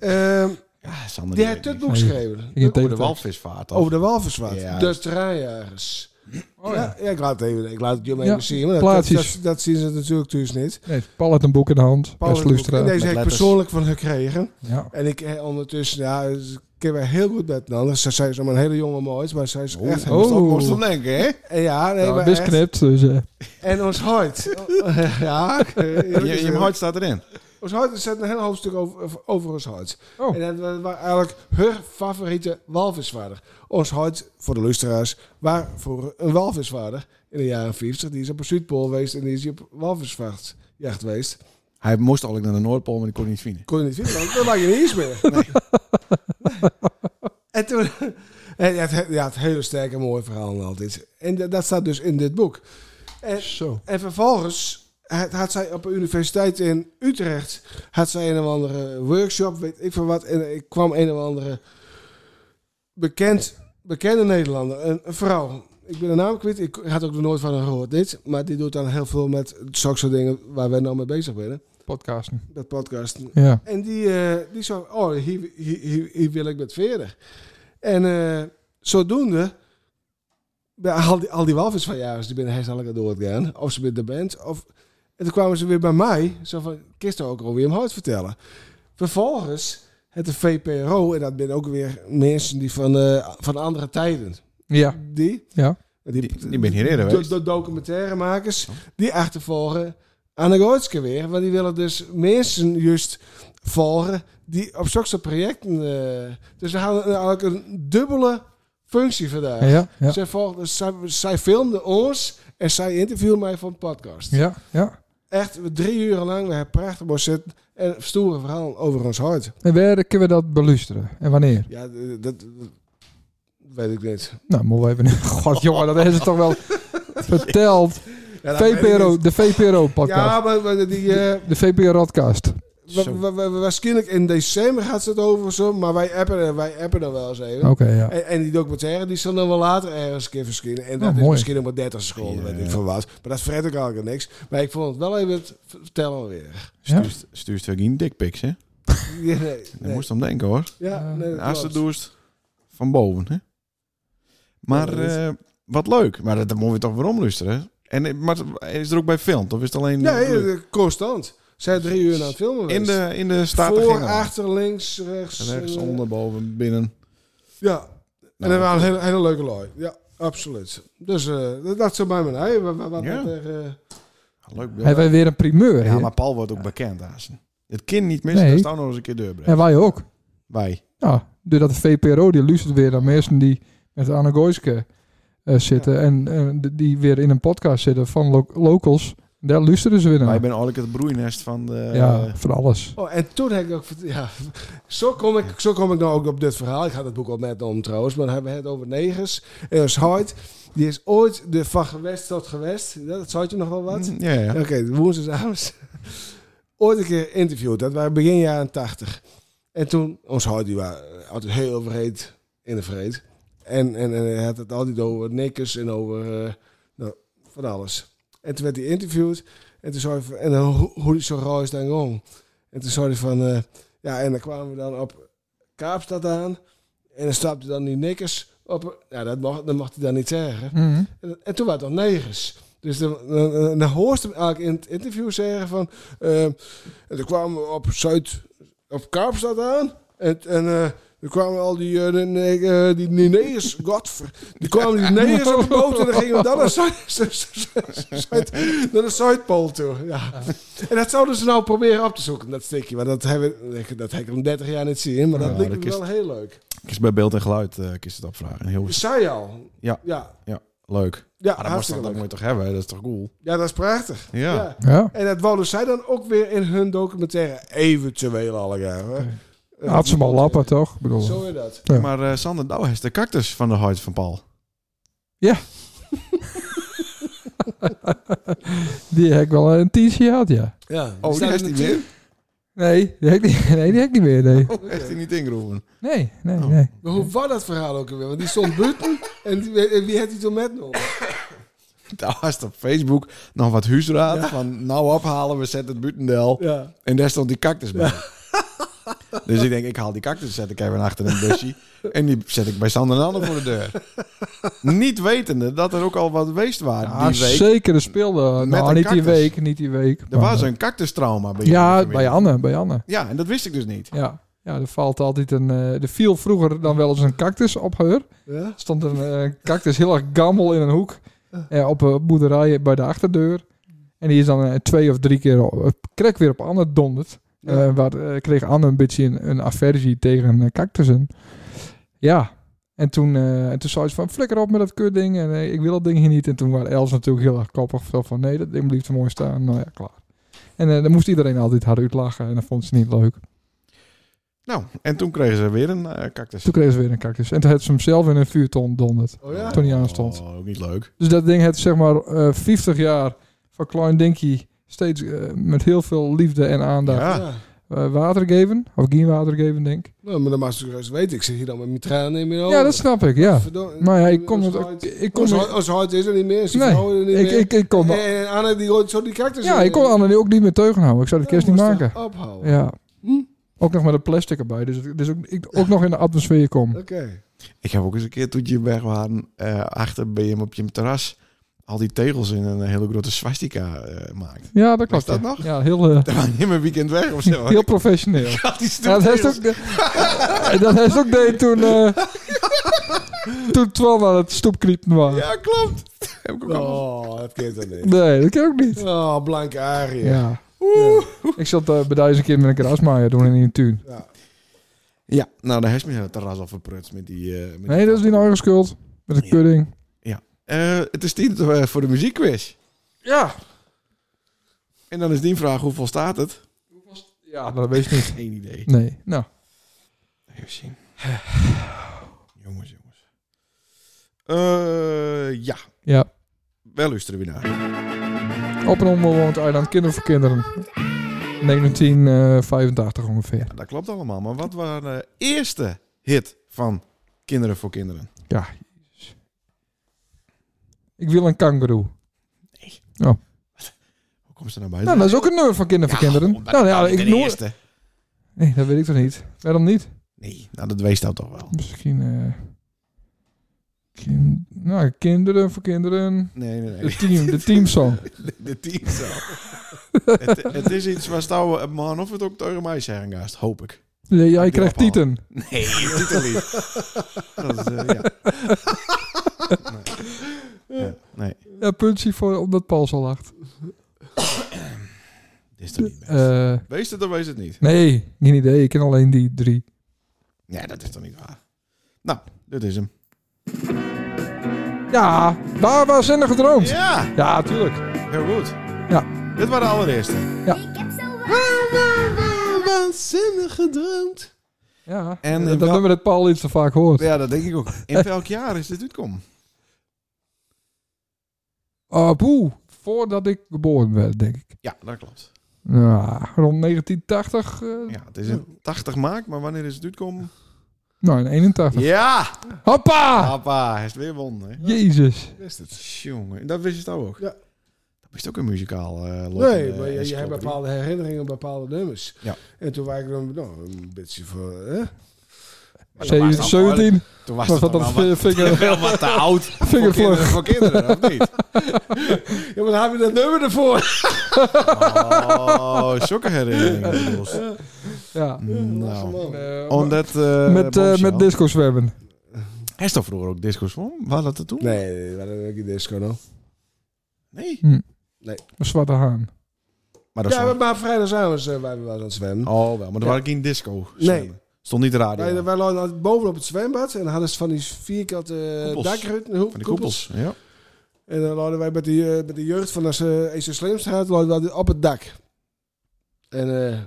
[SPEAKER 5] ja.
[SPEAKER 4] Ehm,
[SPEAKER 5] Ja,
[SPEAKER 4] die
[SPEAKER 5] Sander. die-
[SPEAKER 4] heeft het
[SPEAKER 5] die-
[SPEAKER 4] boek
[SPEAKER 1] Nee.
[SPEAKER 4] geschreven.
[SPEAKER 1] Ik
[SPEAKER 5] Over de
[SPEAKER 1] denk-
[SPEAKER 5] walvisvaart. toch?
[SPEAKER 4] Over de walviswaard.
[SPEAKER 5] Ja.
[SPEAKER 4] De treinjagers.
[SPEAKER 1] Oh,
[SPEAKER 4] ja.
[SPEAKER 1] ja.
[SPEAKER 4] Ja, ik laat het even, ik laat het jullie
[SPEAKER 1] Ja,
[SPEAKER 4] even zien. Maar dat, dat,
[SPEAKER 1] plaatjes.
[SPEAKER 4] dat, dat zien ze natuurlijk thuis niet.
[SPEAKER 1] Nee, Paul had een boek in de hand.
[SPEAKER 4] Paul
[SPEAKER 1] Best
[SPEAKER 4] heeft het boek- en
[SPEAKER 1] lustra.
[SPEAKER 4] deze
[SPEAKER 5] Met
[SPEAKER 4] heb ik
[SPEAKER 5] letters.
[SPEAKER 4] persoonlijk van gekregen.
[SPEAKER 1] Ja.
[SPEAKER 4] En ik eh, ondertussen, ja, ik ken wij heel goed met elkaar. Ze zij is allemaal een hele jonge mooi, maar zij is echt...
[SPEAKER 5] Oh,
[SPEAKER 1] Oh.
[SPEAKER 5] moest hem denken, hè?
[SPEAKER 4] En ja, nee,
[SPEAKER 1] Nou,
[SPEAKER 4] maar
[SPEAKER 1] best
[SPEAKER 4] echt.
[SPEAKER 1] knipt, dus eh,
[SPEAKER 4] En ons hart. *laughs* ja, oké.
[SPEAKER 5] Je, je hart staat erin.
[SPEAKER 4] Ons hart, er zit een heel hoofdstuk over, over ons hart.
[SPEAKER 1] Oh.
[SPEAKER 4] En dat was eigenlijk haar favoriete walvisvaarder. Ons hart, voor de luisteraars, waar voor een walvisvaarder in de jaren 50. Die is op een Zuidpool geweest en die is op walvisvaart geweest.
[SPEAKER 5] Hij moest al naar de Noordpool, maar die kon niet vinden.
[SPEAKER 4] Kon je niet vinden, want dan maak je niet eens meer. En toen... *laughs* En het, ja, het hele sterke mooie verhaal altijd. En dat- dat staat dus in dit boek. En,
[SPEAKER 1] zo.
[SPEAKER 4] en vervolgens had, had zij op een universiteit in Utrecht... had zij een of andere workshop, weet ik veel wat. En ik kwam een of andere bekend, bekende Nederlander, een, een vrouw. Ik ben de naam kwijt. Ik had ook nog nooit van haar gehoord, dit. Maar die doet dan heel veel met zulke soort dingen waar wij nou mee bezig zijn.
[SPEAKER 1] Podcasten.
[SPEAKER 4] Dat podcasten.
[SPEAKER 1] Ja.
[SPEAKER 4] En die, eh, die zo, oh, hier, hier, hier, hier wil ik met verder. En eh, zodoende, bij al die, al die walvis van jaren, die binnen herstelijk door het gaan. Of ze met de band. Of, en toen kwamen ze weer bij mij. Zo van, kist ook alweer hem hart vertellen. Vervolgens, het de VPRO, en dat ben ook weer mensen die van, eh, van andere tijden.
[SPEAKER 1] Ja.
[SPEAKER 4] Die,
[SPEAKER 1] Ja.
[SPEAKER 5] Die- die ben hier eerder
[SPEAKER 4] de,
[SPEAKER 5] geweest.
[SPEAKER 4] de documentairemakers,
[SPEAKER 1] Oh.
[SPEAKER 4] die achtervolgen Anne Goetske weer. Want die willen dus mensen juist volgen die op zulke soort projecten... eh, dus we hadden eigenlijk een dubbele functie vandaag.
[SPEAKER 1] Ja. Ja.
[SPEAKER 4] Zij, volgde, zij, zij filmde ons en zij interviewde mij voor een podcast.
[SPEAKER 1] Ja. Ja.
[SPEAKER 4] Echt drie uren lang, we hebben prachtig mooi zitten en stoere verhalen over ons hart.
[SPEAKER 1] En waar kunnen we dat belusteren? En wanneer?
[SPEAKER 4] Ja, dat, dat- dat weet ik niet.
[SPEAKER 1] Nou, moeten we even... *laughs* God, jongen, dat is het
[SPEAKER 4] *laughs*
[SPEAKER 1] toch wel verteld.
[SPEAKER 4] Ja, dat weet ik
[SPEAKER 1] VPRO,
[SPEAKER 4] niet.
[SPEAKER 1] de VPRO-podcast.
[SPEAKER 4] Ja, maar, maar die... eh,
[SPEAKER 1] De VPRO-podcast.
[SPEAKER 4] Wa- wa- wa- wa- Waarschijnlijk in december gaat ze het over zo, maar wij appen, wij appen dan wel eens even.
[SPEAKER 1] Oké, ja.
[SPEAKER 4] En, en die documentaire die zal dan wel later ergens een keer verschijnen. En dat
[SPEAKER 1] Oh,
[SPEAKER 4] is
[SPEAKER 1] mooi.
[SPEAKER 4] misschien nog maar 30 seconden, weet ik van wat. Maar dat fret ik eigenlijk niks. Maar ik vond het wel even het v- vertellen weer.
[SPEAKER 1] Ja.
[SPEAKER 5] Stuurst, stuurst weer geen dickpics, hè?
[SPEAKER 4] *laughs* Ja, nee,
[SPEAKER 5] Daar
[SPEAKER 4] nee.
[SPEAKER 5] moest hem denken, hoor.
[SPEAKER 4] Ja, nee, dat
[SPEAKER 5] Als het
[SPEAKER 4] klopt.
[SPEAKER 5] doest, van boven, hè? Maar
[SPEAKER 4] Ja, dat is-
[SPEAKER 5] eh, wat leuk. Maar dat, dat moeten we toch weer omlusteren. En, eh, maar is er ook bij film? Of is het alleen...
[SPEAKER 4] Nee, eh, constant. Zij drie uur aan het filmen
[SPEAKER 5] in
[SPEAKER 4] geweest.
[SPEAKER 5] de, in de staten
[SPEAKER 4] Voor,
[SPEAKER 5] gingen we.
[SPEAKER 4] achter, links, rechts.
[SPEAKER 5] Rechts,
[SPEAKER 4] eh,
[SPEAKER 5] onder, boven, binnen.
[SPEAKER 4] Ja,
[SPEAKER 5] Nou,
[SPEAKER 4] en dat waren hele, hele leuke lui. Ja, absoluut. Dus eh, dat, dat zo bij mijn ei. Wat, wat, wat,
[SPEAKER 5] Ja.
[SPEAKER 4] wat er, eh,
[SPEAKER 5] Leuk.
[SPEAKER 1] Hebben wij weer een primeur?
[SPEAKER 5] Ja,
[SPEAKER 1] hier?
[SPEAKER 5] maar Paul wordt ook bekend, Hazen. Het kind niet missen,
[SPEAKER 1] Nee.
[SPEAKER 5] dat staan nog eens een keer deurbrengen.
[SPEAKER 1] En wij ook.
[SPEAKER 5] Wij.
[SPEAKER 1] Ja, doordat de VPRO die luistert weer naar mensen die met Anne Gooiske eh, zitten en eh, d- die weer in een podcast zitten van lo- locals. Daar luisteren ze weer
[SPEAKER 5] Wij
[SPEAKER 1] naar.
[SPEAKER 5] zijn eigenlijk het broeinest van de...
[SPEAKER 1] ja, van alles.
[SPEAKER 4] Oh, en toen heb ik ook... vert- Ja, zo, kom ik, zo kom ik nou ook op dit verhaal. Ik had het boek al net om trouwens, maar dan hebben we het over negers. En ons Hoyt, die is ooit de van gewest tot gewest. Dat zou je nog wel wat?
[SPEAKER 5] Mm, Ja, ja.
[SPEAKER 4] Oké, de woensdagavond. Ooit een keer interviewd. Dat waren begin jaren tachtig. En toen, ons Hoyt, die was altijd heel vreed in de vreed. En, en, en hij had het altijd over nikkers en over eh, nou, van alles. En toen werd hij interviewd. En toen zei hij, van- en dan hoe, hoe die zo rauw is dan gong. En toen zei hij van, eh, ja, en dan kwamen we dan op Kaapstad aan. En dan stapte dan die nikkers op. Ja, dat mocht, dat mocht hij dan niet zeggen.
[SPEAKER 1] Mhm.
[SPEAKER 4] En, en toen waren het dan negers. Dus dan, dan, dan, dan hoort ze hem eigenlijk in het interview zeggen van... ehm, en toen kwamen we op Zuid... op Kaapstad aan. En, en eh, toen kwamen al die, eh, de ne- eh, die, die negers... Godver. Die kwamen die negers op de boot en dan gingen we dan naar, Zuid, Zuid- Zuid- naar de Zuidpool toe. Ja. En dat zouden ze nou proberen op te zoeken, dat stukje. Maar dat hebben we- dat heb ik al 30 jaar niet zien. Maar dat
[SPEAKER 5] Ja,
[SPEAKER 4] lijkt
[SPEAKER 5] dat
[SPEAKER 4] me
[SPEAKER 5] is-
[SPEAKER 4] wel heel leuk.
[SPEAKER 5] Ik is bij beeld en geluid eh ik is het opvragen. Heel
[SPEAKER 4] Zij al.
[SPEAKER 5] Ja.
[SPEAKER 4] Ja,
[SPEAKER 5] leuk.
[SPEAKER 4] ja
[SPEAKER 5] Maar dat, moest,
[SPEAKER 4] hartstikke
[SPEAKER 5] dat
[SPEAKER 4] leuk.
[SPEAKER 5] moet je toch hebben? Dat is toch cool?
[SPEAKER 4] Ja, dat is prachtig.
[SPEAKER 5] Ja.
[SPEAKER 4] Ja.
[SPEAKER 1] Ja.
[SPEAKER 4] En dat wouden zij dan ook weer in hun documentaire eventueel alle jaren.
[SPEAKER 5] Eh,
[SPEAKER 1] Ja, Had ze hem al lappen, toch? Ik bedoel,
[SPEAKER 4] Eh, Zo is dat.
[SPEAKER 1] Ja.
[SPEAKER 5] Maar eh, Sander, nou is de cactus van de huid van Paul.
[SPEAKER 1] Oh, die heb ik wel een tientje gehad, ja.
[SPEAKER 4] Ja.
[SPEAKER 5] Oh, die
[SPEAKER 4] staat
[SPEAKER 5] heeft
[SPEAKER 4] in
[SPEAKER 5] hij
[SPEAKER 4] de
[SPEAKER 5] weer?
[SPEAKER 4] tube.
[SPEAKER 1] Nee, die heb ik niet, *laughs* nee, die heb ik niet meer, nee.
[SPEAKER 5] Oh, heeft hij niet ingeroepen? *laughs*
[SPEAKER 1] Nee, nee,
[SPEAKER 5] Oh.
[SPEAKER 1] nee.
[SPEAKER 4] Maar hoe was dat verhaal ook alweer? Want die stond buiten en wie, en wie had die toen met nog?
[SPEAKER 5] Daar was op Facebook nog wat huisraad. Van nou ophalen, we zetten het butendel.
[SPEAKER 4] Ja.
[SPEAKER 5] En daar stond die cactus bij. *laughs* Dus ik denk, ik haal die cactus, zet ik even achter een
[SPEAKER 1] *laughs*
[SPEAKER 5] busje. en die zet ik bij Sander en Anne voor de deur. Niet wetende dat er ook al wat weest waren
[SPEAKER 1] Ah,
[SPEAKER 5] die week.
[SPEAKER 1] zeker, er speelde...
[SPEAKER 5] Met
[SPEAKER 1] Nou,
[SPEAKER 5] een
[SPEAKER 1] niet die
[SPEAKER 5] cactus.
[SPEAKER 1] week, niet die week.
[SPEAKER 5] Er
[SPEAKER 1] maar,
[SPEAKER 5] was een cactustrauma bij jullie
[SPEAKER 1] Ja,
[SPEAKER 5] vanmiddag.
[SPEAKER 1] bij Anne, bij Anne.
[SPEAKER 5] Ja, en dat wist ik dus niet.
[SPEAKER 1] Ja, ja er valt altijd een. eh, er viel vroeger dan wel eens een cactus op haar.
[SPEAKER 4] Ja?
[SPEAKER 1] Er stond een eh, cactus heel erg gammel in een hoek eh, op een boerderij bij de achterdeur. En die is dan eh, twee of drie keer op- op- krek weer op Anne donderd.
[SPEAKER 4] Ja.
[SPEAKER 1] Eh, waar eh, kreeg Anne een beetje een, een aversie tegen eh, cactussen. Ja. En toen, eh, en toen zei ze van flikker op met dat kutding en eh, ik wil dat ding hier niet. En toen waren Els natuurlijk heel erg koppig. Zo van nee, dat ding blijft er mooi staan. Nou ja, klaar. En eh, dan moest iedereen altijd haar uitlachen en dat vond ze niet leuk.
[SPEAKER 5] Nou, en toen kregen ze weer een eh, cactus.
[SPEAKER 1] Dus Toen kreeg ze weer een cactus. En toen had ze hem zelf in een vuurton donderd.
[SPEAKER 4] Oh ja?
[SPEAKER 1] Toen hij aanstond.
[SPEAKER 5] Oh, ook niet leuk.
[SPEAKER 1] Dus dat ding heeft zeg maar eh 50 jaar van klein dinkie steeds eh, met heel veel liefde en aandacht
[SPEAKER 5] Ja.
[SPEAKER 4] Ja.
[SPEAKER 1] eh, water geven. Of geen water geven, denk ik.
[SPEAKER 4] Nou, maar dan mag ze gerust weten. Ik zit hier dan met mijn tranen in mijn ogen.
[SPEAKER 1] Ja, dat snap ik, ja.
[SPEAKER 4] Verdomme.
[SPEAKER 1] Maar ja, ik kom...
[SPEAKER 4] Ons
[SPEAKER 1] Het, ook-
[SPEAKER 4] huid-
[SPEAKER 1] ik kom
[SPEAKER 4] Ons huid- ons huid is er niet meer. Ze
[SPEAKER 1] Nee,
[SPEAKER 4] verhouden er niet
[SPEAKER 1] ik,
[SPEAKER 4] meer.
[SPEAKER 1] ik, ik kon,
[SPEAKER 4] en, en Anne die gooit zo die cactus
[SPEAKER 1] ja,
[SPEAKER 4] in.
[SPEAKER 1] ik kon Anne ook niet meer teugen houden. Ik zou de
[SPEAKER 4] Dat
[SPEAKER 1] kerst niet
[SPEAKER 4] moest
[SPEAKER 1] maken.
[SPEAKER 4] toch Ophouden.
[SPEAKER 1] Ja. Ook nog met een plastic erbij. Dus, het- dus ook, ik ook nog in de atmosfeer kom.
[SPEAKER 4] Oké.
[SPEAKER 5] Ik heb ook eens een keer toen je weg waren, eh, achter bij hem op je terras, al die tegels in een hele grote swastika eh *laughs* maakt.
[SPEAKER 1] Ja, dat klopt.
[SPEAKER 5] dat
[SPEAKER 1] ja.
[SPEAKER 5] nog?
[SPEAKER 1] Ja, heel, eh,
[SPEAKER 5] Daar waren in mijn weekend weg
[SPEAKER 1] *laughs*
[SPEAKER 5] of zo.
[SPEAKER 1] heel professioneel.
[SPEAKER 5] Had die stoep
[SPEAKER 1] Ja, dat heeft
[SPEAKER 5] tegels.
[SPEAKER 1] ook, *laughs* dat heeft ook deed toen, eh toen Twan aan het stoepkniepen was.
[SPEAKER 5] Ja, klopt. Heb ik ook al.
[SPEAKER 4] Oh, dat kent dan niet.
[SPEAKER 1] Nee, dat kan ook niet.
[SPEAKER 4] Oh, blanke arie.
[SPEAKER 1] Ja. Ja. Ik zat eh, bij duizend keer met een grasmaaier doen in die tuin.
[SPEAKER 5] Ja, nou, daar heeft me het terras al verprutst met die... eh, met
[SPEAKER 1] Nee, dat is niet nou eigen schuld. Met een
[SPEAKER 5] Ja.
[SPEAKER 1] kudding.
[SPEAKER 5] Eh, het is tijd eh, voor de muziekquiz.
[SPEAKER 1] Ja.
[SPEAKER 5] En dan is die vraag, hoeveel staat het? *laughs*
[SPEAKER 1] Ja, dat weet je niet.
[SPEAKER 5] Geen idee.
[SPEAKER 1] Nee. Nou,
[SPEAKER 5] Even zien. *sighs* jongens, jongens. Eh, ja,
[SPEAKER 1] ja.
[SPEAKER 5] wel luisteren we naar.
[SPEAKER 1] Op eh, een onbewoond eiland, kinderen voor kinderen. 1985 ongeveer.
[SPEAKER 5] Ja, dat klopt allemaal, maar wat was de eerste hit van Kinderen voor Kinderen?
[SPEAKER 1] Ja. jezus. Ik wil een kangeroe.
[SPEAKER 5] Hoe komt ze nou bij?
[SPEAKER 1] Nou, dat is ook een nummer van kinderen voor kinderen.
[SPEAKER 5] omdat
[SPEAKER 1] Nou
[SPEAKER 5] het
[SPEAKER 1] ja,
[SPEAKER 5] niet
[SPEAKER 1] ik
[SPEAKER 5] de
[SPEAKER 1] noem...
[SPEAKER 5] eerste.
[SPEAKER 1] Nee, dat weet ik toch niet. Waarom niet?
[SPEAKER 5] Nee, nou, dat wees dat toch wel.
[SPEAKER 1] Misschien. eh, kin- nou, kinderen voor kinderen.
[SPEAKER 5] Nee, nee, nee.
[SPEAKER 1] De team, de teamsong.
[SPEAKER 5] *laughs* De team *laughs* zo. het, het is iets waar Stouw man of het ook tegen mij zeggen gaat, hoop ik.
[SPEAKER 1] Ja, jij
[SPEAKER 5] Ik
[SPEAKER 1] krijgt
[SPEAKER 5] wil
[SPEAKER 1] tieten.
[SPEAKER 5] Nee, het doet er niet. Dat is, eh, ja. Nee. Ja, nee,
[SPEAKER 1] Ja, puntje voor omdat Paul zo lacht.
[SPEAKER 5] dit is er niet bij.
[SPEAKER 1] Eh,
[SPEAKER 5] Wees het of wees het niet?
[SPEAKER 1] nee, geen idee. Ik ken alleen die drie.
[SPEAKER 5] Nee, dat is toch niet waar? Nou, dit is hem.
[SPEAKER 1] Ja, waar was en gedroomd? Ja.
[SPEAKER 5] Ja,
[SPEAKER 1] tuurlijk.
[SPEAKER 5] heel goed.
[SPEAKER 1] Ja.
[SPEAKER 5] Dit waren de allereerste.
[SPEAKER 4] Waanzinnig gedroomd.
[SPEAKER 1] Ja.
[SPEAKER 5] En
[SPEAKER 1] En
[SPEAKER 5] in
[SPEAKER 1] dat
[SPEAKER 5] wel-
[SPEAKER 1] nummer dat Paul iets te vaak hoort.
[SPEAKER 5] Ja, dat denk ik ook. In welk jaar is dit uitkomen?
[SPEAKER 1] Ah, boe. Voordat ik geboren werd, denk ik.
[SPEAKER 5] Ja, dat klopt.
[SPEAKER 1] Nou, rond 1980. eh,
[SPEAKER 5] Ja, het is een 80 maak, maar wanneer is het uitkomen?
[SPEAKER 1] Nou, in 81.
[SPEAKER 5] Ja!
[SPEAKER 1] Hoppa!
[SPEAKER 5] Papa, hij is weer won, hè?
[SPEAKER 1] Jezus.
[SPEAKER 4] Ah. Is het?
[SPEAKER 5] Jongen, dat wist je nou ook?
[SPEAKER 4] Ja.
[SPEAKER 5] Dat wist ook een muzikaal eh lot in
[SPEAKER 4] Nee,
[SPEAKER 5] de
[SPEAKER 4] maar je, je hebt
[SPEAKER 5] encyclopedie.
[SPEAKER 4] bepaalde herinneringen, bepaalde nummers.
[SPEAKER 5] Ja.
[SPEAKER 4] En toen waren we dan nou, een beetje voor... Hè?
[SPEAKER 5] was het al
[SPEAKER 1] 17.
[SPEAKER 5] Toen was
[SPEAKER 1] Was dat
[SPEAKER 5] het dan
[SPEAKER 1] dan
[SPEAKER 4] *laughs*
[SPEAKER 5] wel wat-
[SPEAKER 1] vinger?
[SPEAKER 5] wel wat te oud voor
[SPEAKER 1] Vingervlug.
[SPEAKER 5] kinderen, voor kinderen, of niet?
[SPEAKER 4] *laughs* Ja, maar dan hebben we dat nummer ervoor.
[SPEAKER 5] Oh, zulke herinneringen. jongens.
[SPEAKER 1] Ja.
[SPEAKER 5] *laughs* Nou,
[SPEAKER 1] Eh,
[SPEAKER 5] omdat... eh,
[SPEAKER 1] met, eh,
[SPEAKER 5] bombshell.
[SPEAKER 1] met disco zwemmen.
[SPEAKER 5] Hij stond vroeger ook disco's voor. Waar dat er toen?
[SPEAKER 4] Nee, nee, dat is ook in disco nog.
[SPEAKER 5] Nee.
[SPEAKER 1] Een zwarte haan.
[SPEAKER 5] Maar dat
[SPEAKER 4] Ja,
[SPEAKER 5] stond-
[SPEAKER 4] maar vrijdagavond eh, waren we wel aan het zwemmen.
[SPEAKER 5] Oh, wel. Maar er waren geen disco.
[SPEAKER 4] Nee.
[SPEAKER 5] Stond niet de radio.
[SPEAKER 4] Wij, wij lagen altijd bovenop het zwembad en dan hadden ze van die vierkante eh,
[SPEAKER 5] Koepels.
[SPEAKER 4] dakrut,
[SPEAKER 5] Van die koepels. Ja.
[SPEAKER 4] En dan lagen wij met, die, eh, met de jeugd van de uh, Slimstraat lagen we altijd op het dak. En eh,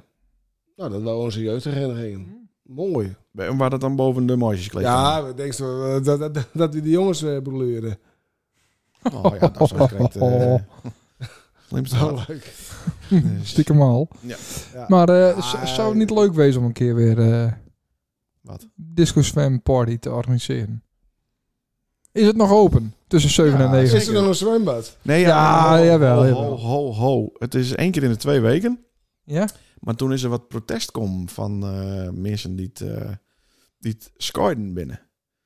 [SPEAKER 4] nou, dat waren onze
[SPEAKER 5] Mm.
[SPEAKER 4] jeugdherinneringen. Mooi.
[SPEAKER 5] En Waar dat dan boven de margeskleed
[SPEAKER 4] Ja, we denken zo, eh, dat, dat, dat, dat we die jongens eh
[SPEAKER 5] *laughs*
[SPEAKER 4] beluren.
[SPEAKER 5] Oh ja, dat is correct.
[SPEAKER 1] Oh.
[SPEAKER 5] *laughs* Uh, slimste
[SPEAKER 4] Zo
[SPEAKER 1] *laughs*
[SPEAKER 5] halen.
[SPEAKER 4] leuk.
[SPEAKER 1] Stiekem al.
[SPEAKER 5] Ja.
[SPEAKER 4] Ja.
[SPEAKER 1] Maar eh,
[SPEAKER 4] Ah,
[SPEAKER 1] z- zou het niet leuk wezen om een keer weer... eh,
[SPEAKER 5] Wat?
[SPEAKER 1] Disco Swam Party te organiseren. Is het nog open? Tussen 7 en 9?
[SPEAKER 4] Is er nog een zwembad?
[SPEAKER 5] Nee, ja,
[SPEAKER 1] Ja,
[SPEAKER 5] ho,
[SPEAKER 1] jawel,
[SPEAKER 5] ho,
[SPEAKER 1] jawel.
[SPEAKER 5] Ho, ho, ho. Het is één keer in de twee weken.
[SPEAKER 1] Ja?
[SPEAKER 5] Maar toen is er wat protest kom van eh, mensen die het, eh die het scoorden binnen.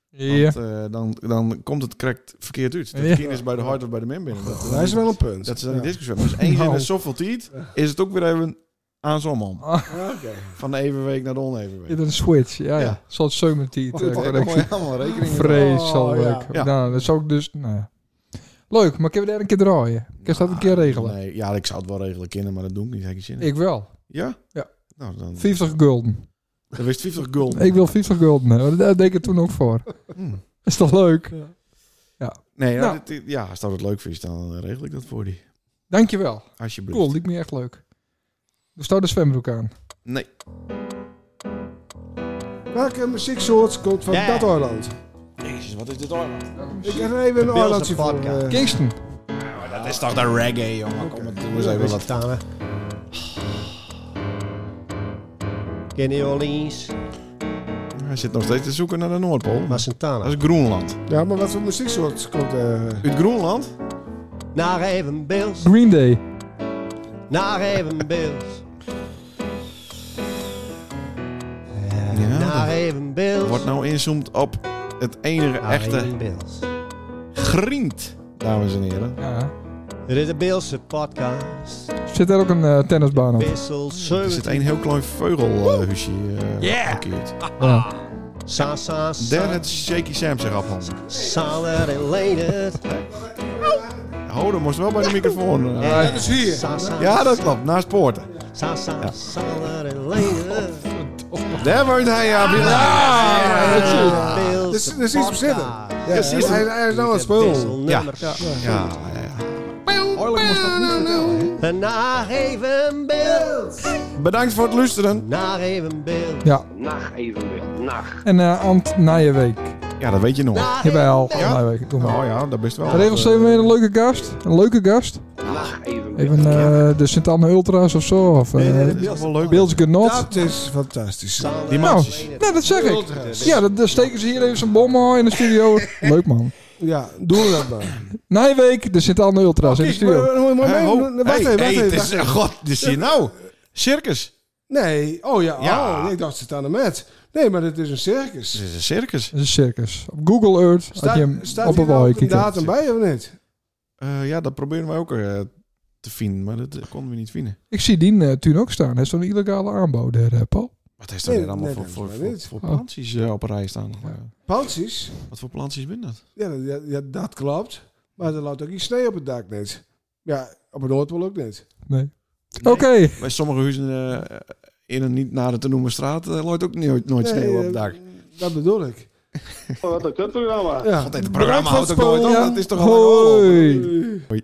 [SPEAKER 1] Ja.
[SPEAKER 5] Want eh, dan, dan komt het correct verkeerd uit. Dat
[SPEAKER 1] Ja.
[SPEAKER 5] kind is bij de hard of bij de men binnen. Dat,
[SPEAKER 4] Dat is wel een punt.
[SPEAKER 5] dat ze dan
[SPEAKER 4] Ja.
[SPEAKER 5] niet discussiëren. Dus één keer in
[SPEAKER 1] Nou.
[SPEAKER 5] de zoveel tijd is het ook weer even aan zo'n man.
[SPEAKER 4] Ah, Oké.
[SPEAKER 5] Van de evenweek naar de onevenweek.
[SPEAKER 1] In een switch, ja, ja.
[SPEAKER 5] eh, Ja.
[SPEAKER 1] Zoals Summertiet.
[SPEAKER 5] Daar hou je allemaal *laughs* rekening mee.
[SPEAKER 1] Vreselijk.
[SPEAKER 4] Oh,
[SPEAKER 5] ja.
[SPEAKER 1] Nou, dat zou ik dus... Nou, ja. Leuk, maar kunnen we daar een keer draaien? Kun je dat een keer
[SPEAKER 5] Nou,
[SPEAKER 1] regelen?
[SPEAKER 5] Nee, ja, ik zou het wel regelen, kinderen, maar dat doe ik niet. Heb ik geen zin in.
[SPEAKER 1] Ik wel.
[SPEAKER 5] Ja?
[SPEAKER 1] Ja.
[SPEAKER 5] Nou, dan,
[SPEAKER 1] 50 gulden.
[SPEAKER 5] dan wist 50 gulden.
[SPEAKER 1] Ik wil 50 gulden hebben. Daar deed ik het toen ook voor. *laughs*
[SPEAKER 5] Hmm.
[SPEAKER 1] Is toch leuk?
[SPEAKER 5] Nee, ja,
[SPEAKER 1] Nou.
[SPEAKER 5] dit- dit- ja, als dat het leuk vindt, dan eh, regel ik dat voor die.
[SPEAKER 1] Dankjewel.
[SPEAKER 5] Alsjeblieft.
[SPEAKER 1] Cool, liep me echt leuk. Dus stou de zwembroek aan.
[SPEAKER 5] Nee.
[SPEAKER 4] Welke muzieksoort komt van
[SPEAKER 3] Ja.
[SPEAKER 4] dat eiland?
[SPEAKER 5] Jezus, wat is dit allemaal?
[SPEAKER 4] Ik heb er even een
[SPEAKER 3] Beelze
[SPEAKER 4] eilandje voor.
[SPEAKER 3] podcast.
[SPEAKER 4] eh,
[SPEAKER 1] Kingston.
[SPEAKER 5] dat is toch de reggae, jongen. Kom maar, doe eens
[SPEAKER 3] Zijn
[SPEAKER 5] even
[SPEAKER 3] we
[SPEAKER 5] wat.
[SPEAKER 3] staan, Kenny Orleans,
[SPEAKER 5] Hij zit nog steeds te zoeken naar de Noordpool.
[SPEAKER 3] maar
[SPEAKER 5] Dat
[SPEAKER 3] Santana.
[SPEAKER 5] is Groenland.
[SPEAKER 4] Ja, maar wat voor muzieksoort komt eh
[SPEAKER 5] Uit Groenland?
[SPEAKER 3] Naar even Bills,
[SPEAKER 1] Green Day.
[SPEAKER 3] naar even Bills.
[SPEAKER 5] Ja,
[SPEAKER 3] Naar
[SPEAKER 5] dat-
[SPEAKER 3] even Bills.
[SPEAKER 5] Wordt nou inzoomd op het enige
[SPEAKER 1] Ah,
[SPEAKER 3] naar
[SPEAKER 5] echte
[SPEAKER 3] even Bills.
[SPEAKER 5] griend, dames en heren.
[SPEAKER 1] Ja.
[SPEAKER 3] Dit is de Beelse podcast.
[SPEAKER 1] Zit er ook een eh, tennisbaan op?
[SPEAKER 3] Wissel
[SPEAKER 5] Er
[SPEAKER 3] 7.
[SPEAKER 5] zit een heel klein veugelhuisje eh
[SPEAKER 3] Yeah!
[SPEAKER 5] geparkeerd.
[SPEAKER 1] Ja.
[SPEAKER 3] Sa, sa,
[SPEAKER 5] Daar
[SPEAKER 3] sa.
[SPEAKER 5] het Shaky Sam zich afhandelen.
[SPEAKER 3] Saler en Leendert.
[SPEAKER 5] Oh, dat moest wel bij de
[SPEAKER 1] *laughs*
[SPEAKER 5] microfoon. eh.
[SPEAKER 3] Dat
[SPEAKER 4] is hier.
[SPEAKER 3] Sa, sa,
[SPEAKER 5] Ja, dat klopt. Naast poorten.
[SPEAKER 3] Sa, sa, Saler en Leendert.
[SPEAKER 5] Daar woont hij aan.
[SPEAKER 3] Ja,
[SPEAKER 4] Dat is- dat is iets bezitten.
[SPEAKER 3] Ja,
[SPEAKER 4] Ja, precies. Hij, hij is nou aan het
[SPEAKER 5] Eh,
[SPEAKER 4] spelen.
[SPEAKER 3] Ja.
[SPEAKER 5] Ja, ja. Oorlijk moest dat niet vertellen. hè?
[SPEAKER 3] Naar even beeld.
[SPEAKER 5] Bedankt voor het luisteren.
[SPEAKER 3] Naar even beeld.
[SPEAKER 1] ja.
[SPEAKER 6] Nacht evenbeeld. Nacht.
[SPEAKER 1] En eh Ant Nijenweek.
[SPEAKER 5] Ja, dat weet je nog.
[SPEAKER 3] Naar
[SPEAKER 1] Jawel.
[SPEAKER 3] even
[SPEAKER 1] Ja? Nijenweek. Doe maar.
[SPEAKER 5] Oh ja, dat best wel.
[SPEAKER 1] Regels zijn weer een leuke gast. Een leuke gast.
[SPEAKER 6] Nacht evenbeeld.
[SPEAKER 1] Even eh, de Sint-Anne Ultra's of zo. Of eh
[SPEAKER 5] Dat is wel leuk.
[SPEAKER 1] Beelds Genot.
[SPEAKER 4] Dat is fantastisch.
[SPEAKER 3] beeld.
[SPEAKER 5] Die
[SPEAKER 1] Nou,
[SPEAKER 5] maatjes.
[SPEAKER 1] nou, dat zeg ik. Ja, dan dan steken ze hier even zo'n bom aan in de
[SPEAKER 5] *laughs*
[SPEAKER 1] studio. Leuk man.
[SPEAKER 4] Ja, doe dat maar.
[SPEAKER 1] Nijweek, de Sint-Anne Ultra's in de
[SPEAKER 4] Maar-
[SPEAKER 1] studio.
[SPEAKER 4] maar- maar-
[SPEAKER 5] Hey,
[SPEAKER 4] maar-
[SPEAKER 5] ho.
[SPEAKER 4] Wacht
[SPEAKER 5] Hey,
[SPEAKER 4] even,
[SPEAKER 5] hey,
[SPEAKER 4] wacht
[SPEAKER 5] het
[SPEAKER 4] even.
[SPEAKER 5] is-
[SPEAKER 4] wacht even.
[SPEAKER 5] God, dit is hier nou. Circus.
[SPEAKER 4] Nee, oh ja,
[SPEAKER 5] Ja.
[SPEAKER 4] Oh, ik dacht, ze staan er met. Nee, maar dit is een circus.
[SPEAKER 5] Dit is een circus.
[SPEAKER 1] Dat is een circus. Op Google Earth had je hem
[SPEAKER 4] staat
[SPEAKER 1] op
[SPEAKER 4] hier
[SPEAKER 1] een
[SPEAKER 4] nou
[SPEAKER 1] wal
[SPEAKER 4] een datum bij of niet?
[SPEAKER 5] Eh, ja, dat proberen wij ook eh, te vinden, maar dat eh, konden we niet vinden.
[SPEAKER 1] Ik zie die eh, toen ook staan. Dat is zo'n illegale aanbouw daar, eh, Paul.
[SPEAKER 5] Wat heeft dat
[SPEAKER 4] Nee,
[SPEAKER 5] weer allemaal
[SPEAKER 4] nee,
[SPEAKER 5] voor,
[SPEAKER 4] dat
[SPEAKER 5] voor,
[SPEAKER 4] is
[SPEAKER 5] voor,
[SPEAKER 4] maar
[SPEAKER 5] voor,
[SPEAKER 4] niet.
[SPEAKER 5] planties eh, op een rij staan?
[SPEAKER 4] Pansies?
[SPEAKER 5] Wat voor planties ben dat?
[SPEAKER 4] Ja, dat- ja, ja, dat klopt. Maar er loopt ook iets sneeuw op het dak niet. Ja, op het Noordpool ook niet.
[SPEAKER 1] Nee.
[SPEAKER 5] Nee.
[SPEAKER 1] Oké.
[SPEAKER 5] Bij sommige huizen eh, in een niet nader te noemen straat eh, looit ook nooit, nooit
[SPEAKER 4] Nee,
[SPEAKER 5] sneeuw op het
[SPEAKER 4] eh,
[SPEAKER 5] dak.
[SPEAKER 4] Dat bedoel ik.
[SPEAKER 6] Wat een kutprogramma.
[SPEAKER 4] Ja.
[SPEAKER 5] God, dit programma houdt ook nooit op.
[SPEAKER 1] Ja.
[SPEAKER 5] Dat is toch
[SPEAKER 1] Hoi.
[SPEAKER 5] allemaal...
[SPEAKER 4] Oei.
[SPEAKER 5] Hoi.